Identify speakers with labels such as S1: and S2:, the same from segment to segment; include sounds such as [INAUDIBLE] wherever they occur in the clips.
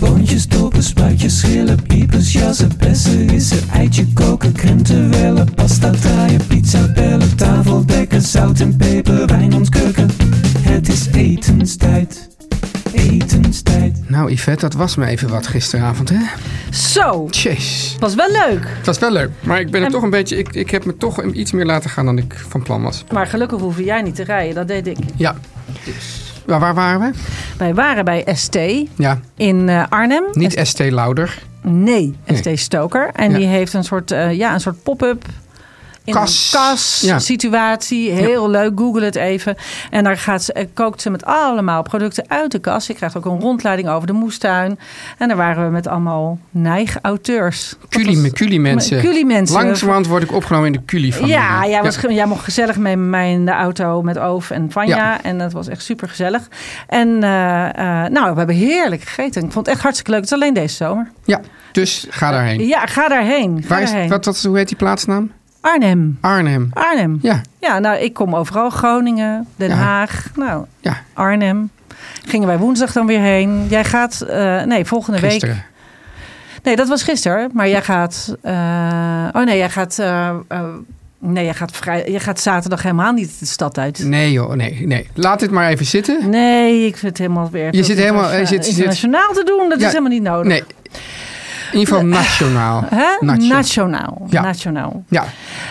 S1: Boontjes, dopen, spuitjes, schillen, piepers, jassen, bessen, rissen, eitje koken, krenten wellen, pasta draaien, pizza bellen, tafel dekken, zout en peper, wijn ontkurken. Het is etenstijd, etenstijd.
S2: Nou, Yvette, dat was me even wat gisteravond, hè?
S3: Zo,
S2: Jeez.
S3: was wel leuk.
S2: Het was wel leuk, maar ik ben er toch een beetje... Ik, ik heb me toch iets meer laten gaan dan ik van plan was.
S3: Maar gelukkig hoefde jij niet te rijden, dat deed ik.
S2: Ja. Maar waar waren we?
S3: Wij waren bij ST
S2: Ja,
S3: in eh, Arnhem.
S2: niet
S3: ST
S2: ST Louder.
S3: nee,
S2: Nee.
S3: ST Stoker. En
S2: Ja.
S3: die heeft een soort, eh, ja, een soort pop-up. In
S2: Kas.
S3: een kas
S2: Ja.
S3: situatie. Heel leuk. Google het even. En daar gaat ze, eh, kookt ze met allemaal producten uit de kas. Je krijgt ook een rondleiding over de moestuin. En daar waren we met allemaal neigauteurs. Dat was-
S2: Culi-mensen.
S3: Culi-mensen.
S2: Langzamerhand word ik opgenomen in de Culi-familie.
S3: Ja, jij, was, ge- jij mocht gezellig mee met mij in de auto met Oof en Vanja.
S2: Ja.
S3: En dat was echt super gezellig. En eh, eh, nou, we hebben heerlijk gegeten. Ik vond het echt hartstikke leuk. Het is alleen deze zomer.
S2: Ja, dus ga daarheen.
S3: Ja, ga daarheen. Ga
S2: Waar is,
S3: daarheen.
S2: wat, wat, hoe heet die plaatsnaam?
S3: Arnhem.
S2: Arnhem.
S3: Arnhem. Ja.
S2: Ja,
S3: nou, ik kom overal. Groningen, Den
S2: Ja.
S3: Haag. Nou,
S2: ja.
S3: Arnhem. Gingen wij woensdag dan weer heen. Jij gaat, eh, nee, volgende week.
S2: Gisteren.
S3: Nee, dat was gisteren. Maar jij gaat. eh, oh nee, jij gaat. eh, eh, nee, jij gaat, vrij, jij gaat zaterdag helemaal niet de stad uit.
S2: Nee joh, nee, nee. Laat dit maar even zitten.
S3: Nee, ik zit helemaal weer.
S2: Je zit helemaal- je zit- je zit-
S3: internationaal te doen. Dat
S2: Ja,
S3: is helemaal niet nodig.
S2: Nee. In ieder geval nationaal.
S3: Hè?
S2: Nationaal.
S3: Nationaal.
S2: Ja.
S3: Nationaal.
S2: Ja,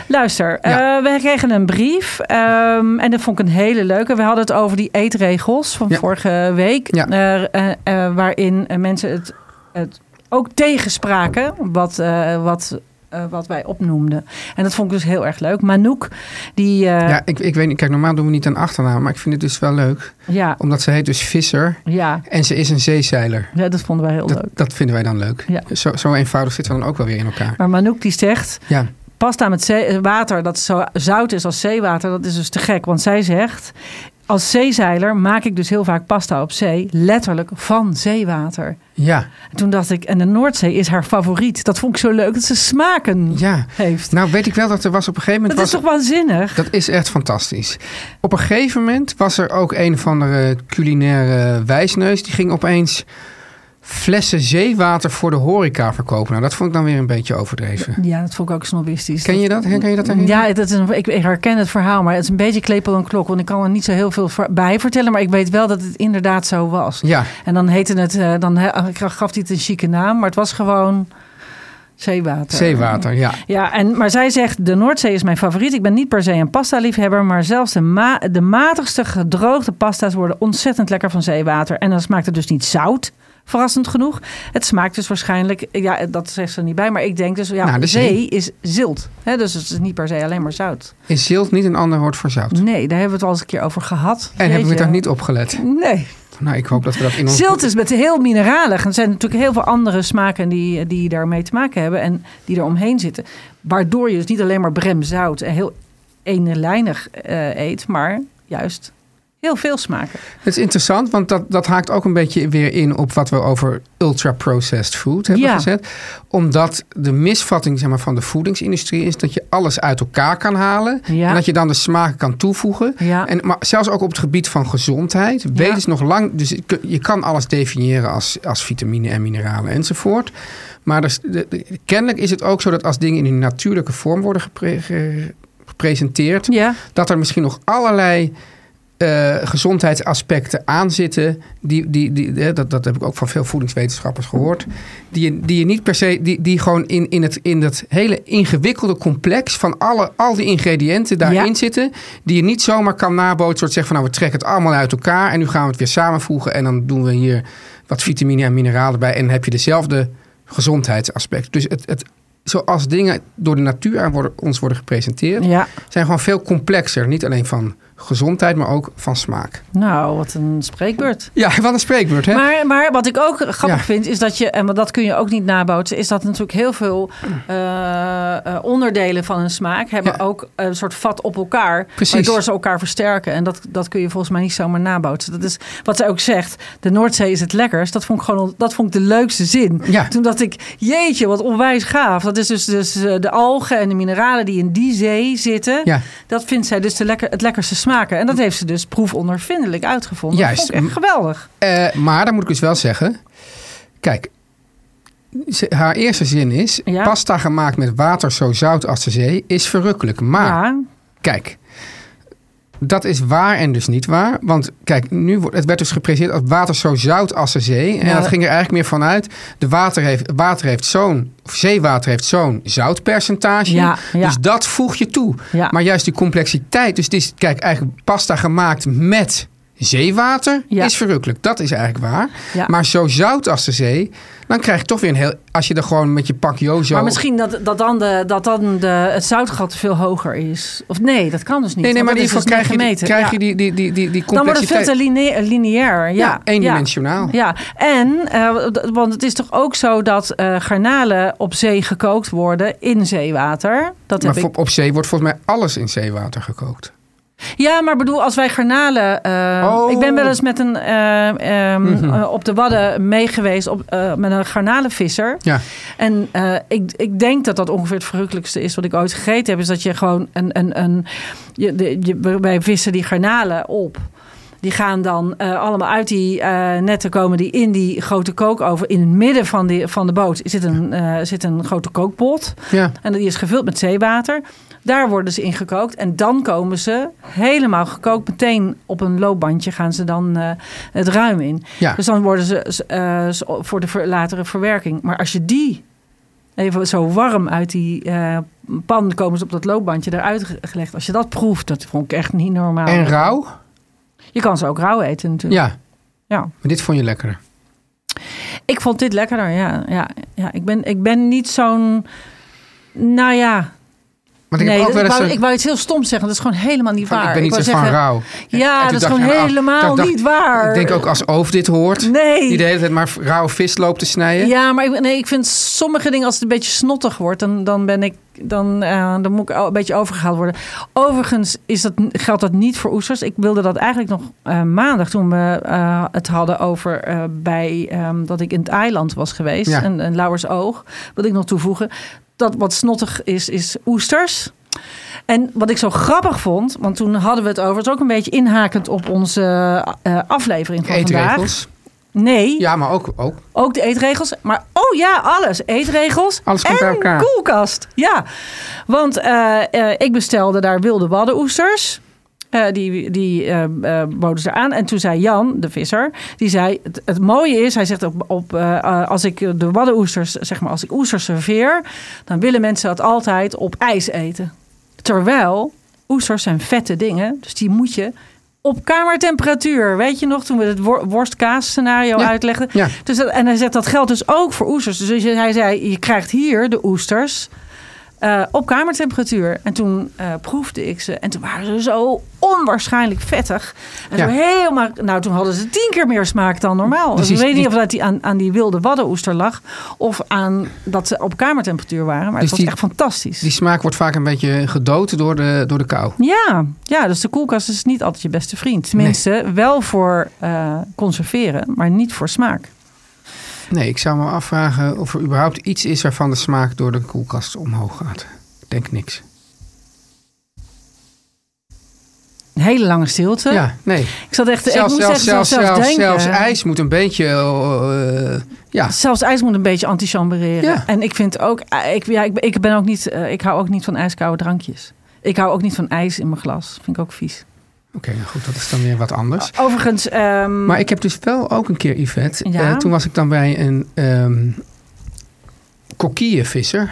S3: Luister,
S2: Ja.
S3: eh, we kregen een brief. ehm, en dat vond ik een hele leuke. We hadden het over die eetregels van
S2: Ja.
S3: vorige week.
S2: Ja.
S3: eh, eh, eh, waarin eh, mensen het, het ook tegenspraken. Wat, eh, wat, eh, wat wij opnoemden. En dat vond ik dus heel erg leuk. Manouk, die. eh,
S2: ja ik, ik weet niet. Kijk, normaal doen we niet een achternaam, maar ik vind het dus wel leuk.
S3: ja.
S2: Omdat ze heet dus Visser
S3: ja.
S2: en ze is een zeezeiler.
S3: Ja, dat vonden wij heel
S2: Dat,
S3: leuk.
S2: dat vinden wij dan leuk.
S3: Ja.
S2: Zo, zo eenvoudig zitten we dan ook wel weer in elkaar.
S3: Maar Manouk die zegt,
S2: Ja,
S3: pasta met zee- eh, water dat zo zout is als zeewater, dat is dus te gek. Want zij zegt, als zeezeiler maak ik dus heel vaak pasta op zee, letterlijk van zeewater.
S2: ja,
S3: En toen dacht ik, en de Noordzee is haar favoriet. Dat vond ik zo leuk, dat ze smaken
S2: ja.
S3: heeft.
S2: Nou weet ik wel dat er was op een gegeven moment...
S3: dat is
S2: was,
S3: toch waanzinnig?
S2: dat is echt fantastisch. Op een gegeven moment was er ook een van de culinaire wijsneus. Die ging opeens flessen zeewater voor de horeca verkopen. Nou, dat vond ik dan weer een beetje overdreven.
S3: Ja, dat vond ik ook snobistisch.
S2: Ken je dat? Herken je dat herinneren?
S3: Ja, dat is een, ik, ik herken het verhaal, maar het is een beetje klepel en klok. Want ik kan er niet zo heel veel voor- bij vertellen, maar ik weet wel dat het inderdaad zo was.
S2: Ja,
S3: En dan heette het, eh, dan he- gaf hij het een chique naam, maar het was gewoon zeewater.
S2: zeewater, ja.
S3: Ja, en, maar zij zegt, de Noordzee is mijn favoriet. Ik ben niet per se een pasta-liefhebber, maar zelfs de, ma de matigste gedroogde pasta's worden ontzettend lekker van zeewater. En dan smaakt het dus niet zout, verrassend genoeg. Het smaakt dus waarschijnlijk, ja, dat zegt ze er niet bij, maar ik denk dus, ja,
S2: Nou, de
S3: zee.
S2: zee.
S3: is zilt. Hè? Dus het is niet per se alleen maar zout.
S2: Is zilt niet een ander woord voor zout?
S3: Nee, daar hebben we het al eens een keer over gehad.
S2: En heb ik
S3: Jeetje.
S2: me daar niet op gelet?
S3: Nee.
S2: Nou, ik hoop dat we dat in ons...
S3: Zilt is met heel mineralig. En er zijn natuurlijk heel veel andere smaken die, die daarmee te maken hebben en die er omheen zitten. Waardoor je dus niet alleen maar bremzout en heel eenlijnig eh, eet, maar juist heel veel smaken.
S2: Het is interessant, want dat, dat haakt ook een beetje weer in op wat we over ultra-processed food hebben
S3: Ja.
S2: gezet. Omdat de misvatting zeg maar, van de voedingsindustrie is dat je alles uit elkaar kan halen.
S3: Ja.
S2: En dat je dan de smaken kan toevoegen.
S3: Ja.
S2: En, maar zelfs ook op het gebied van gezondheid. Weet
S3: Ja.
S2: is nog lang. Dus je kun- je kan alles definiëren als, als vitamine en mineralen enzovoort. Maar er is- de- de- kennelijk is het ook zo dat als dingen in hun natuurlijke vorm worden gepre- ge- gepresenteerd
S3: Ja,
S2: dat er misschien nog allerlei eh, gezondheidsaspecten aan zitten. Die, die, die, eh, dat, dat heb ik ook van veel voedingswetenschappers gehoord. Die je, die je niet per se. die, die gewoon in, in, het, in dat hele ingewikkelde complex. van alle, al die ingrediënten daarin
S3: Ja.
S2: zitten. die je niet zomaar kan nabootsen. soort zeggen van nou we trekken het allemaal uit elkaar. en nu gaan we het weer samenvoegen. en dan doen we hier wat vitamine en mineralen bij. en dan heb je dezelfde gezondheidsaspect. Dus het. het Zoals dingen door de natuur aan worden, ons worden gepresenteerd,
S3: Ja,
S2: zijn gewoon veel complexer. Niet alleen van gezondheid, maar ook van smaak.
S3: nou, wat een spreekbeurt.
S2: Ja, [LAUGHS] wat een spreekbeurt, hè?
S3: Maar, maar wat ik ook grappig
S2: Ja.
S3: vind, is dat je, en want dat kun je ook niet nabootsen, is dat natuurlijk heel veel eh, eh, onderdelen van een smaak hebben
S2: Ja.
S3: ook een soort vat op elkaar.
S2: Precies.
S3: Waardoor ze elkaar versterken. En dat, dat kun je volgens mij niet zomaar nabootsen. Dat is wat ze ook zegt. De Noordzee is het lekkerst. Dat vond ik gewoon dat vond ik de leukste zin.
S2: Ja.
S3: Toen dacht ik, jeetje, wat onwijs gaaf. Dat is dus, dus eh, de algen en de mineralen die in die zee zitten.
S2: Ja.
S3: Dat vindt zij dus de lekker, het lekkerste smaken. En dat heeft ze dus proefondervindelijk uitgevonden.
S2: Juist.
S3: Dat vond ik echt geweldig.
S2: Eh, maar dan moet ik dus wel zeggen... Kijk, ze- haar eerste zin is...
S3: Ja.
S2: Pasta gemaakt met water zo zout als de zee is verrukkelijk. Maar,
S3: ja.
S2: kijk... Dat is waar en dus niet waar. Want kijk, nu, wordt- het werd dus gepresenteerd als water zo zout als de zee. En
S3: Ja.
S2: dat ging er eigenlijk meer vanuit. De water heeft, water heeft zo'n, of zeewater heeft zo'n zoutpercentage.
S3: Ja, ja.
S2: Dus dat voeg je toe.
S3: Ja.
S2: Maar juist die complexiteit. Dus het is, kijk, eigenlijk pasta gemaakt met zeewater
S3: Ja.
S2: is verrukkelijk. Dat is eigenlijk waar.
S3: Ja.
S2: Maar zo zout als de zee, dan krijg je toch weer een heel... Als je er gewoon met je pak jozo...
S3: Maar misschien dat, dat dan, de, dat dan de, het zoutgat veel hoger is. Of nee, dat kan dus niet.
S2: Nee, nee,
S3: want
S2: maar in
S3: dat
S2: ieder geval
S3: is dus
S2: krijg, je,
S3: niet
S2: die-
S3: gemeten.
S2: krijg
S3: Ja.
S2: je die, die, die, die, die
S3: Dan wordt het veel
S2: complexiteit.
S3: te line- lineair. Ja,
S2: Ja, eendimensionaal.
S3: Ja, en, eh, d- want het is toch ook zo dat eh, garnalen op zee gekookt worden in zeewater. Dat heb
S2: maar
S3: ik.
S2: op, op zee wordt volgens mij alles in zeewater gekookt.
S3: Ja, maar bedoel, als wij garnalen... eh,
S2: Oh. Mhm.
S3: Ik ben wel eens met een, eh, ehm, eh, op de Wadden meegeweest op, eh, met een garnalenvisser.
S2: Ja,
S3: En eh, ik, ik denk dat dat ongeveer het verrukkelijkste is wat ik ooit gegeten heb. Is dat je gewoon een. een, een je, de, je, wij vissen die garnalen op. Die gaan dan eh, allemaal uit die eh, netten komen die in die grote kookoven. In het midden van, die, van de boot zit een, eh, zit een grote kookpot.
S2: ja.
S3: En die is gevuld met zeewater. Daar worden ze in gekookt. En dan komen ze helemaal gekookt. Meteen op een loopbandje gaan ze dan eh, het ruim in.
S2: Ja.
S3: Dus dan worden ze eh, s- voor de ver- latere verwerking. Maar als je die even zo warm uit die eh, pan komen ze op dat loopbandje eruit ge- gelegd. Als je dat proeft, dat vond ik echt niet normaal.
S2: En rauw?
S3: Je kan ze ook rauw eten natuurlijk.
S2: Ja, maar
S3: ja.
S2: dit vond je lekkerder.
S3: Ik vond dit lekkerder, ja. ja, ja. Ik, ben, ik ben niet zo'n... Nou ja,
S2: Want ik
S3: nee,
S2: heb ook wel
S3: dat- ik,
S2: eens...
S3: wou,
S2: een-
S3: ik wou iets heel stoms zeggen. Dat is gewoon helemaal niet
S2: van,
S3: waar.
S2: ik ben niet
S3: wou
S2: zo van
S3: zeggen,
S2: rauw.
S3: Ja,
S2: En
S3: dat
S2: toen
S3: is
S2: dacht
S3: gewoon
S2: ik, nou,
S3: helemaal
S2: dat dacht-
S3: niet waar.
S2: Ik denk ook als Oof dit hoort.
S3: Nee.
S2: Die de hele tijd maar rauw vis loopt te snijden.
S3: Ja, maar ik, nee, ik vind sommige dingen, als het een beetje snottig wordt, dan, dan ben ik. Dan, eh, dan moet ik al een beetje overgehaald worden. Overigens is dat, geldt dat niet voor oesters. Ik wilde dat eigenlijk nog eh, maandag toen we eh, het hadden over eh, bij ehm, dat ik in het eiland was geweest.
S2: Ja.
S3: En, en Lauwersoog, wil ik nog toevoegen. Dat wat snottig is, is oesters. En wat ik zo grappig vond, want toen hadden we het over, het is ook een beetje inhakend op onze eh, aflevering van vandaag.
S2: Eetregels.
S3: Nee,
S2: Ja, maar ook, ook
S3: ook de eetregels. Maar oh ja, alles. Eetregels
S2: Alles
S3: en
S2: komt bij elkaar.
S3: koelkast. Ja, want eh, eh, ik bestelde daar wilde waddenoesters. Eh, die die eh, eh, boden ze aan. En toen zei Jan, de visser, die zei... Het, het mooie is, hij zegt op, op, eh, eh, als ik de waddenoesters, zeg maar als ik oesters serveer... dan willen mensen dat altijd op ijs eten. Terwijl oesters zijn vette dingen, dus die moet je op kamertemperatuur. Weet je nog, toen we het wor- worstkaas scenario
S2: Ja,
S3: uitlegden.
S2: ja.
S3: [LAUGHS] Dus dat, en hij zegt dat geldt dus ook voor oesters. Dus hij zei, je krijgt hier de oesters eh, op kamertemperatuur. En toen eh, proefde ik ze. En toen waren ze zo onwaarschijnlijk vettig. En
S2: Ja.
S3: toen helemaal, nou, toen hadden ze tien keer meer smaak dan normaal. Dus ik
S2: Precies,
S3: weet niet
S2: die-
S3: of dat die aan, aan die wilde waddenoester lag. Of aan dat ze op kamertemperatuur waren.
S2: Dus
S3: Maar het was
S2: die-
S3: echt fantastisch.
S2: Die smaak wordt vaak een beetje gedood door de, door de kou.
S3: Ja, ja, dus de koelkast is niet altijd je beste vriend. Tenminste, wel voor eh, conserveren, maar niet voor smaak.
S2: Nee, ik zou me afvragen of er überhaupt iets is waarvan de smaak door de koelkast omhoog gaat. Ik denk niks.
S3: Een hele lange stilte.
S2: Ja, nee.
S3: Ik zat echt, ik
S2: Zelfs,
S3: moest
S2: zelfs,
S3: echt zelfs,
S2: zelfs,
S3: zelfs,
S2: zelfs,
S3: denken.
S2: zelfs ijs moet een beetje... eh, eh, ja,
S3: Zelfs ijs moet een beetje antichambereren.
S2: Ja.
S3: En ik vind ook, eh, ik, ja, ik, ik ben ook niet, eh, ik hou ook niet van ijskoude drankjes. Ik hou ook niet van ijs in mijn glas. Vind ik ook vies.
S2: Oké, nou goed, dat is dan weer wat anders.
S3: Overigens, ehm,
S2: Maar ik heb dus wel ook een keer, Yvette.
S3: Ja.
S2: eh, toen was ik dan bij een ehm kokkienvisser.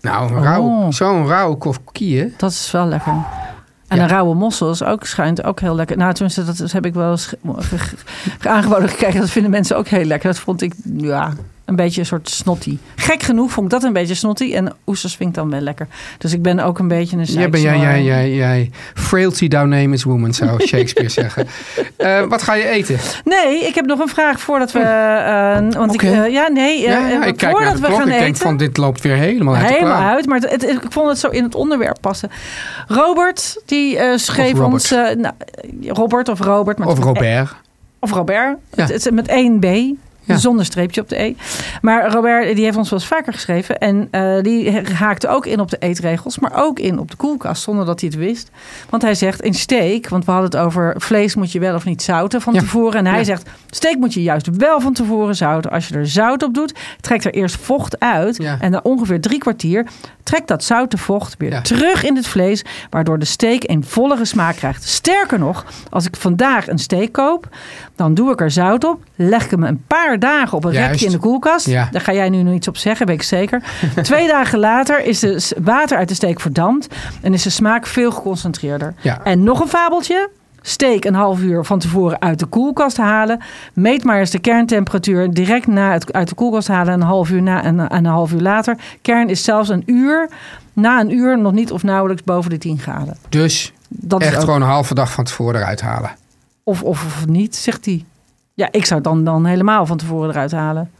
S2: Nou, een rauw,
S3: Oh.
S2: zo'n rauw kokkie.
S3: dat is wel lekker. En
S2: Ja.
S3: een rauwe mossel is ook, schijnt ook heel lekker. Nou, tenminste, dat is- heb ik wel eens ge- ge- ge- ge- aangeboden gekregen. Dat vinden mensen ook heel lekker. Dat vond ik, ja, een beetje een soort snotty. Gek genoeg vond ik dat een beetje snotty. En oesters vind ik dan wel lekker. Dus ik ben ook een beetje een
S2: Ja, ben jij,
S3: zeiksnor.
S2: jij, jij, jij. Frailty thou name is woman,
S3: [LAUGHS]
S2: zou Shakespeare zeggen. Eh, wat ga je eten?
S3: Nee, ik heb nog een vraag voordat we... eh, want ik,
S2: Oh. Oké.
S3: eh, ja, nee, eh,
S2: Ja, ja,
S3: eh,
S2: ik kijk naar
S3: voordat
S2: de
S3: we
S2: klok.
S3: gaan
S2: Ik denk
S3: eten...
S2: van dit oh, loopt weer helemaal uit de
S3: Helemaal
S2: klauw.
S3: uit, maar het, het- ik vond het zo in het onderwerp passen. Robert, die eh, schreef
S2: Of Robert.
S3: ons... eh, nou, eh, Robert of Robert. Maar het
S2: Of
S3: is met E-
S2: Robert.
S3: of Robert.
S2: Ja.
S3: Het, is met één B.
S2: Ja.
S3: Zonder streepje op de E. Maar Robert die heeft ons wel eens vaker geschreven. En eh, die haakte ook in op de eetregels. Maar ook in op de koelkast. Zonder dat hij het wist. Want hij zegt in steak. Want we hadden het over vlees moet je wel of niet zouten van
S2: Ja.
S3: tevoren. En hij
S2: Ja.
S3: zegt steak moet je juist wel van tevoren zouten. Als je er zout op doet. Trekt er eerst vocht uit.
S2: Ja.
S3: En na ongeveer drie kwartier. Trekt dat zoute vocht weer
S2: Ja.
S3: terug in het vlees, waardoor de steak een vollere smaak krijgt. Sterker nog, als ik vandaag een steak koop, dan doe ik er zout op, leg ik hem een paar dagen op een
S2: Juist.
S3: rekje in de koelkast.
S2: Ja.
S3: Daar ga jij nu nog iets op zeggen, weet ik
S2: [LAUGHS]
S3: zeker. Twee dagen later is het water uit de steak verdampt en is de smaak veel geconcentreerder.
S2: Ja.
S3: En nog een fabeltje. Steek een half uur van tevoren uit de koelkast halen. Meet maar eens de kerntemperatuur direct na het uit de koelkast halen. Een half uur na en en een half uur later. Kern is zelfs een uur. Na een uur nog niet of nauwelijks boven de 10 graden.
S2: Dus
S3: Dat is
S2: echt
S3: ook-
S2: gewoon een halve dag van tevoren eruit halen.
S3: Of, of, of niet, zegt hij. Ja, ik zou het dan, dan helemaal van tevoren eruit halen.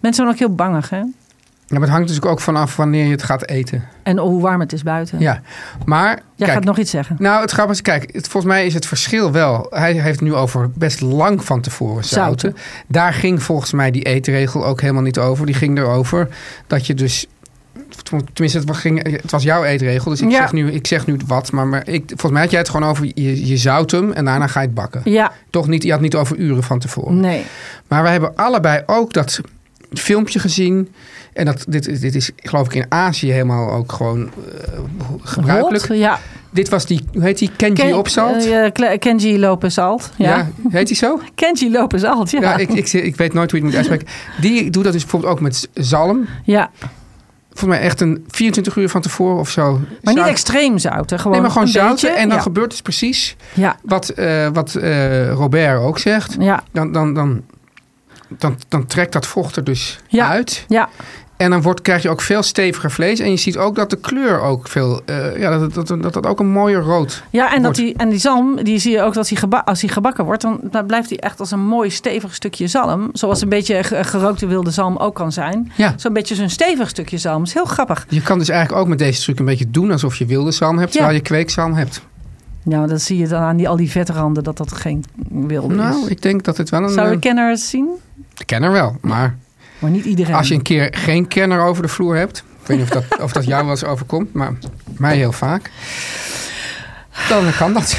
S3: Mensen zijn ook heel bangig, hè?
S2: Ja, maar het hangt natuurlijk ook vanaf wanneer je het gaat eten.
S3: En hoe warm het is buiten.
S2: Ja, maar
S3: Jij
S2: kijk,
S3: gaat nog iets zeggen.
S2: nou het grappige is, kijk, het, volgens mij is het verschil wel. Hij heeft nu over best lang van tevoren zouten. Daar ging volgens mij die eetregel ook helemaal niet over. Die ging erover dat je dus, tenminste het, ging, het was jouw eetregel, dus ik,
S3: Ja.
S2: zeg, nu, ik zeg nu wat. Maar, maar ik, volgens mij had jij het gewoon over, je, je zout hem en daarna ga je het bakken.
S3: Ja,
S2: Toch niet, je had het niet over uren van tevoren.
S3: nee.
S2: Maar we hebben allebei ook dat filmpje gezien. En dat, dit, dit is geloof ik in Azië helemaal ook gewoon eh, gebruikelijk.
S3: Rot, Ja.
S2: Dit was die, hoe heet die, Kenji
S3: Ken-
S2: Opzalt?
S3: eh, ja, Kle- Kenji Lopez Alt. Ja.
S2: ja. heet die zo?
S3: Kenji Lopez Alt, ja.
S2: Ja, ik, ik, ik weet nooit hoe je het moet uitspreken. Die doet dat dus bijvoorbeeld ook met zalm.
S3: Ja,
S2: Volgens mij echt een 24 uur van tevoren of zo.
S3: maar niet
S2: Zout-
S3: extreem zout, hè? Gewoon
S2: Nee, maar gewoon
S3: een
S2: zouten.
S3: beetje.
S2: En dan
S3: ja.
S2: gebeurt dus precies
S3: ja.
S2: wat, eh, wat eh, Robert ook zegt.
S3: Ja.
S2: Dan, dan, dan, dan, dan trekt dat vocht er dus
S3: Ja.
S2: uit.
S3: Ja.
S2: En dan wordt, krijg je ook veel steviger vlees. En je ziet ook dat de kleur ook veel. eh, ja, dat, dat, dat, dat dat ook een mooier rood.
S3: Ja, en, dat
S2: wordt.
S3: die, en die zalm, die zie je ook dat hij geba- als hij gebakken wordt, dan, dan blijft hij echt als een mooi stevig stukje zalm. Zoals een beetje ge- gerookte wilde zalm ook kan zijn.
S2: Ja.
S3: Zo'n beetje zo'n stevig stukje zalm. is heel grappig.
S2: Je kan dus eigenlijk ook met deze truc een beetje doen alsof je wilde zalm hebt,
S3: Ja.
S2: terwijl je kweekzalm hebt.
S3: Nou, dat zie je dan aan die, al die vetranden dat dat geen wilde
S2: Nou,
S3: is.
S2: ik denk dat het wel een.
S3: Zou de
S2: eh,
S3: kenner het zien?
S2: kenner wel. Maar
S3: Maar niet iedereen.
S2: als je een keer geen kenner over de vloer hebt. Ik weet niet of dat, [LAUGHS] of dat jou wel eens overkomt, maar mij heel vaak. Dan kan dat. [LAUGHS]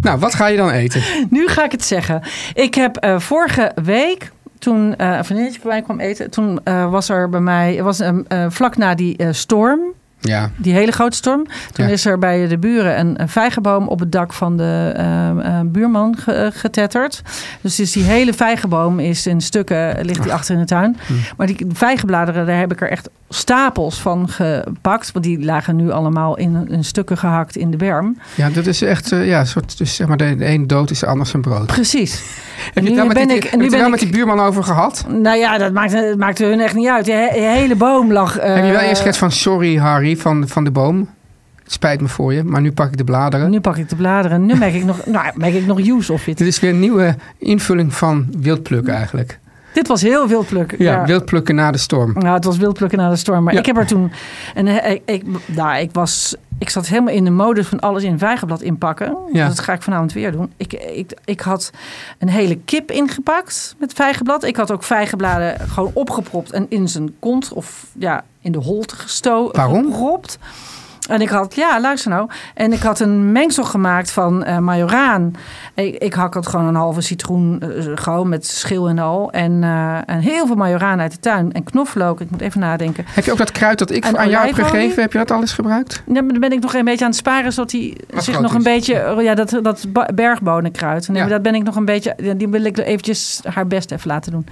S2: nou, wat ga je dan eten?
S3: Nu ga ik het zeggen. Ik heb eh, vorige week, toen eh een vriendinnetje bij mij kwam eten, toen eh, was er bij mij, was, een eh, vlak na die eh, storm,
S2: Ja,
S3: die hele grote storm, toen
S2: Ja.
S3: is er bij de buren een, een vijgenboom op het dak van de ehm, eh, buurman ge- eh, getetterd. Dus, is die hele vijgenboom is in stukken, eh, ligt die achter in de tuin.
S2: Hm.
S3: Maar die vijgenbladeren, daar heb ik er echt stapels van gepakt, want die lagen nu allemaal in, in stukken gehakt in de berm.
S2: ja dat is echt. eh, ja, een soort, dus zeg maar, de, de een dood is de ander zijn brood.
S3: Precies.
S2: Heb je het daar
S3: nu
S2: met,
S3: ben
S2: die,
S3: ik-
S2: heb je
S3: en nu
S2: het daar
S3: ben
S2: met
S3: ik-
S2: die buurman over gehad?
S3: Nou ja, dat maakte, dat maakte hun echt niet uit. De, he- de hele boom lag. eh,
S2: heb je wel eerst gezegd van sorry Harry van, van de boom? Het spijt me voor je, maar nu pak ik de bladeren.
S3: Nu pak ik de bladeren. Nu merk ik
S2: [LAUGHS]
S3: nog, nou, merk ik nog use of dit.
S2: Dit is weer een nieuwe invulling van wildplukken eigenlijk.
S3: Dit was heel wild plukken.
S2: Ja, wildplukken na de storm.
S3: Nou, het was wild plukken na de storm. Maar
S2: Ja.
S3: ik heb er toen. En eh, ik, ik, nou, ik, was, ik zat helemaal in de modus van alles in een vijgenblad inpakken.
S2: Ja.
S3: Dat ga ik vanavond weer doen. Ik, ik, ik had een hele kip ingepakt met vijgenblad. Ik had ook vijgenbladen gewoon opgepropt en in zijn kont of ja, in de holte gestoken.
S2: Waarom?
S3: Gepropt. En ik had, ja, luister nou. En ik had een mengsel gemaakt van eh, majoraan. Ik, ik hakkelde gewoon een halve citroen, eh, gewoon met schil en al. En, eh, en heel veel majoraan uit de tuin. En knoflook, ik moet even nadenken.
S2: Heb je ook dat kruid dat ik
S3: En
S2: aan jou heb
S3: olijfolie?
S2: gegeven, heb je dat alles gebruikt?
S3: Ja, maar dan ben ik nog een beetje aan het sparen, zodat hij
S2: Wat
S3: zich
S2: groot is.
S3: nog een beetje... oh Ja, dat, dat ba- bergbonenkruid. Nee,
S2: Ja.
S3: maar dat ben ik nog een beetje... ja, Die wil ik eventjes haar best even laten doen.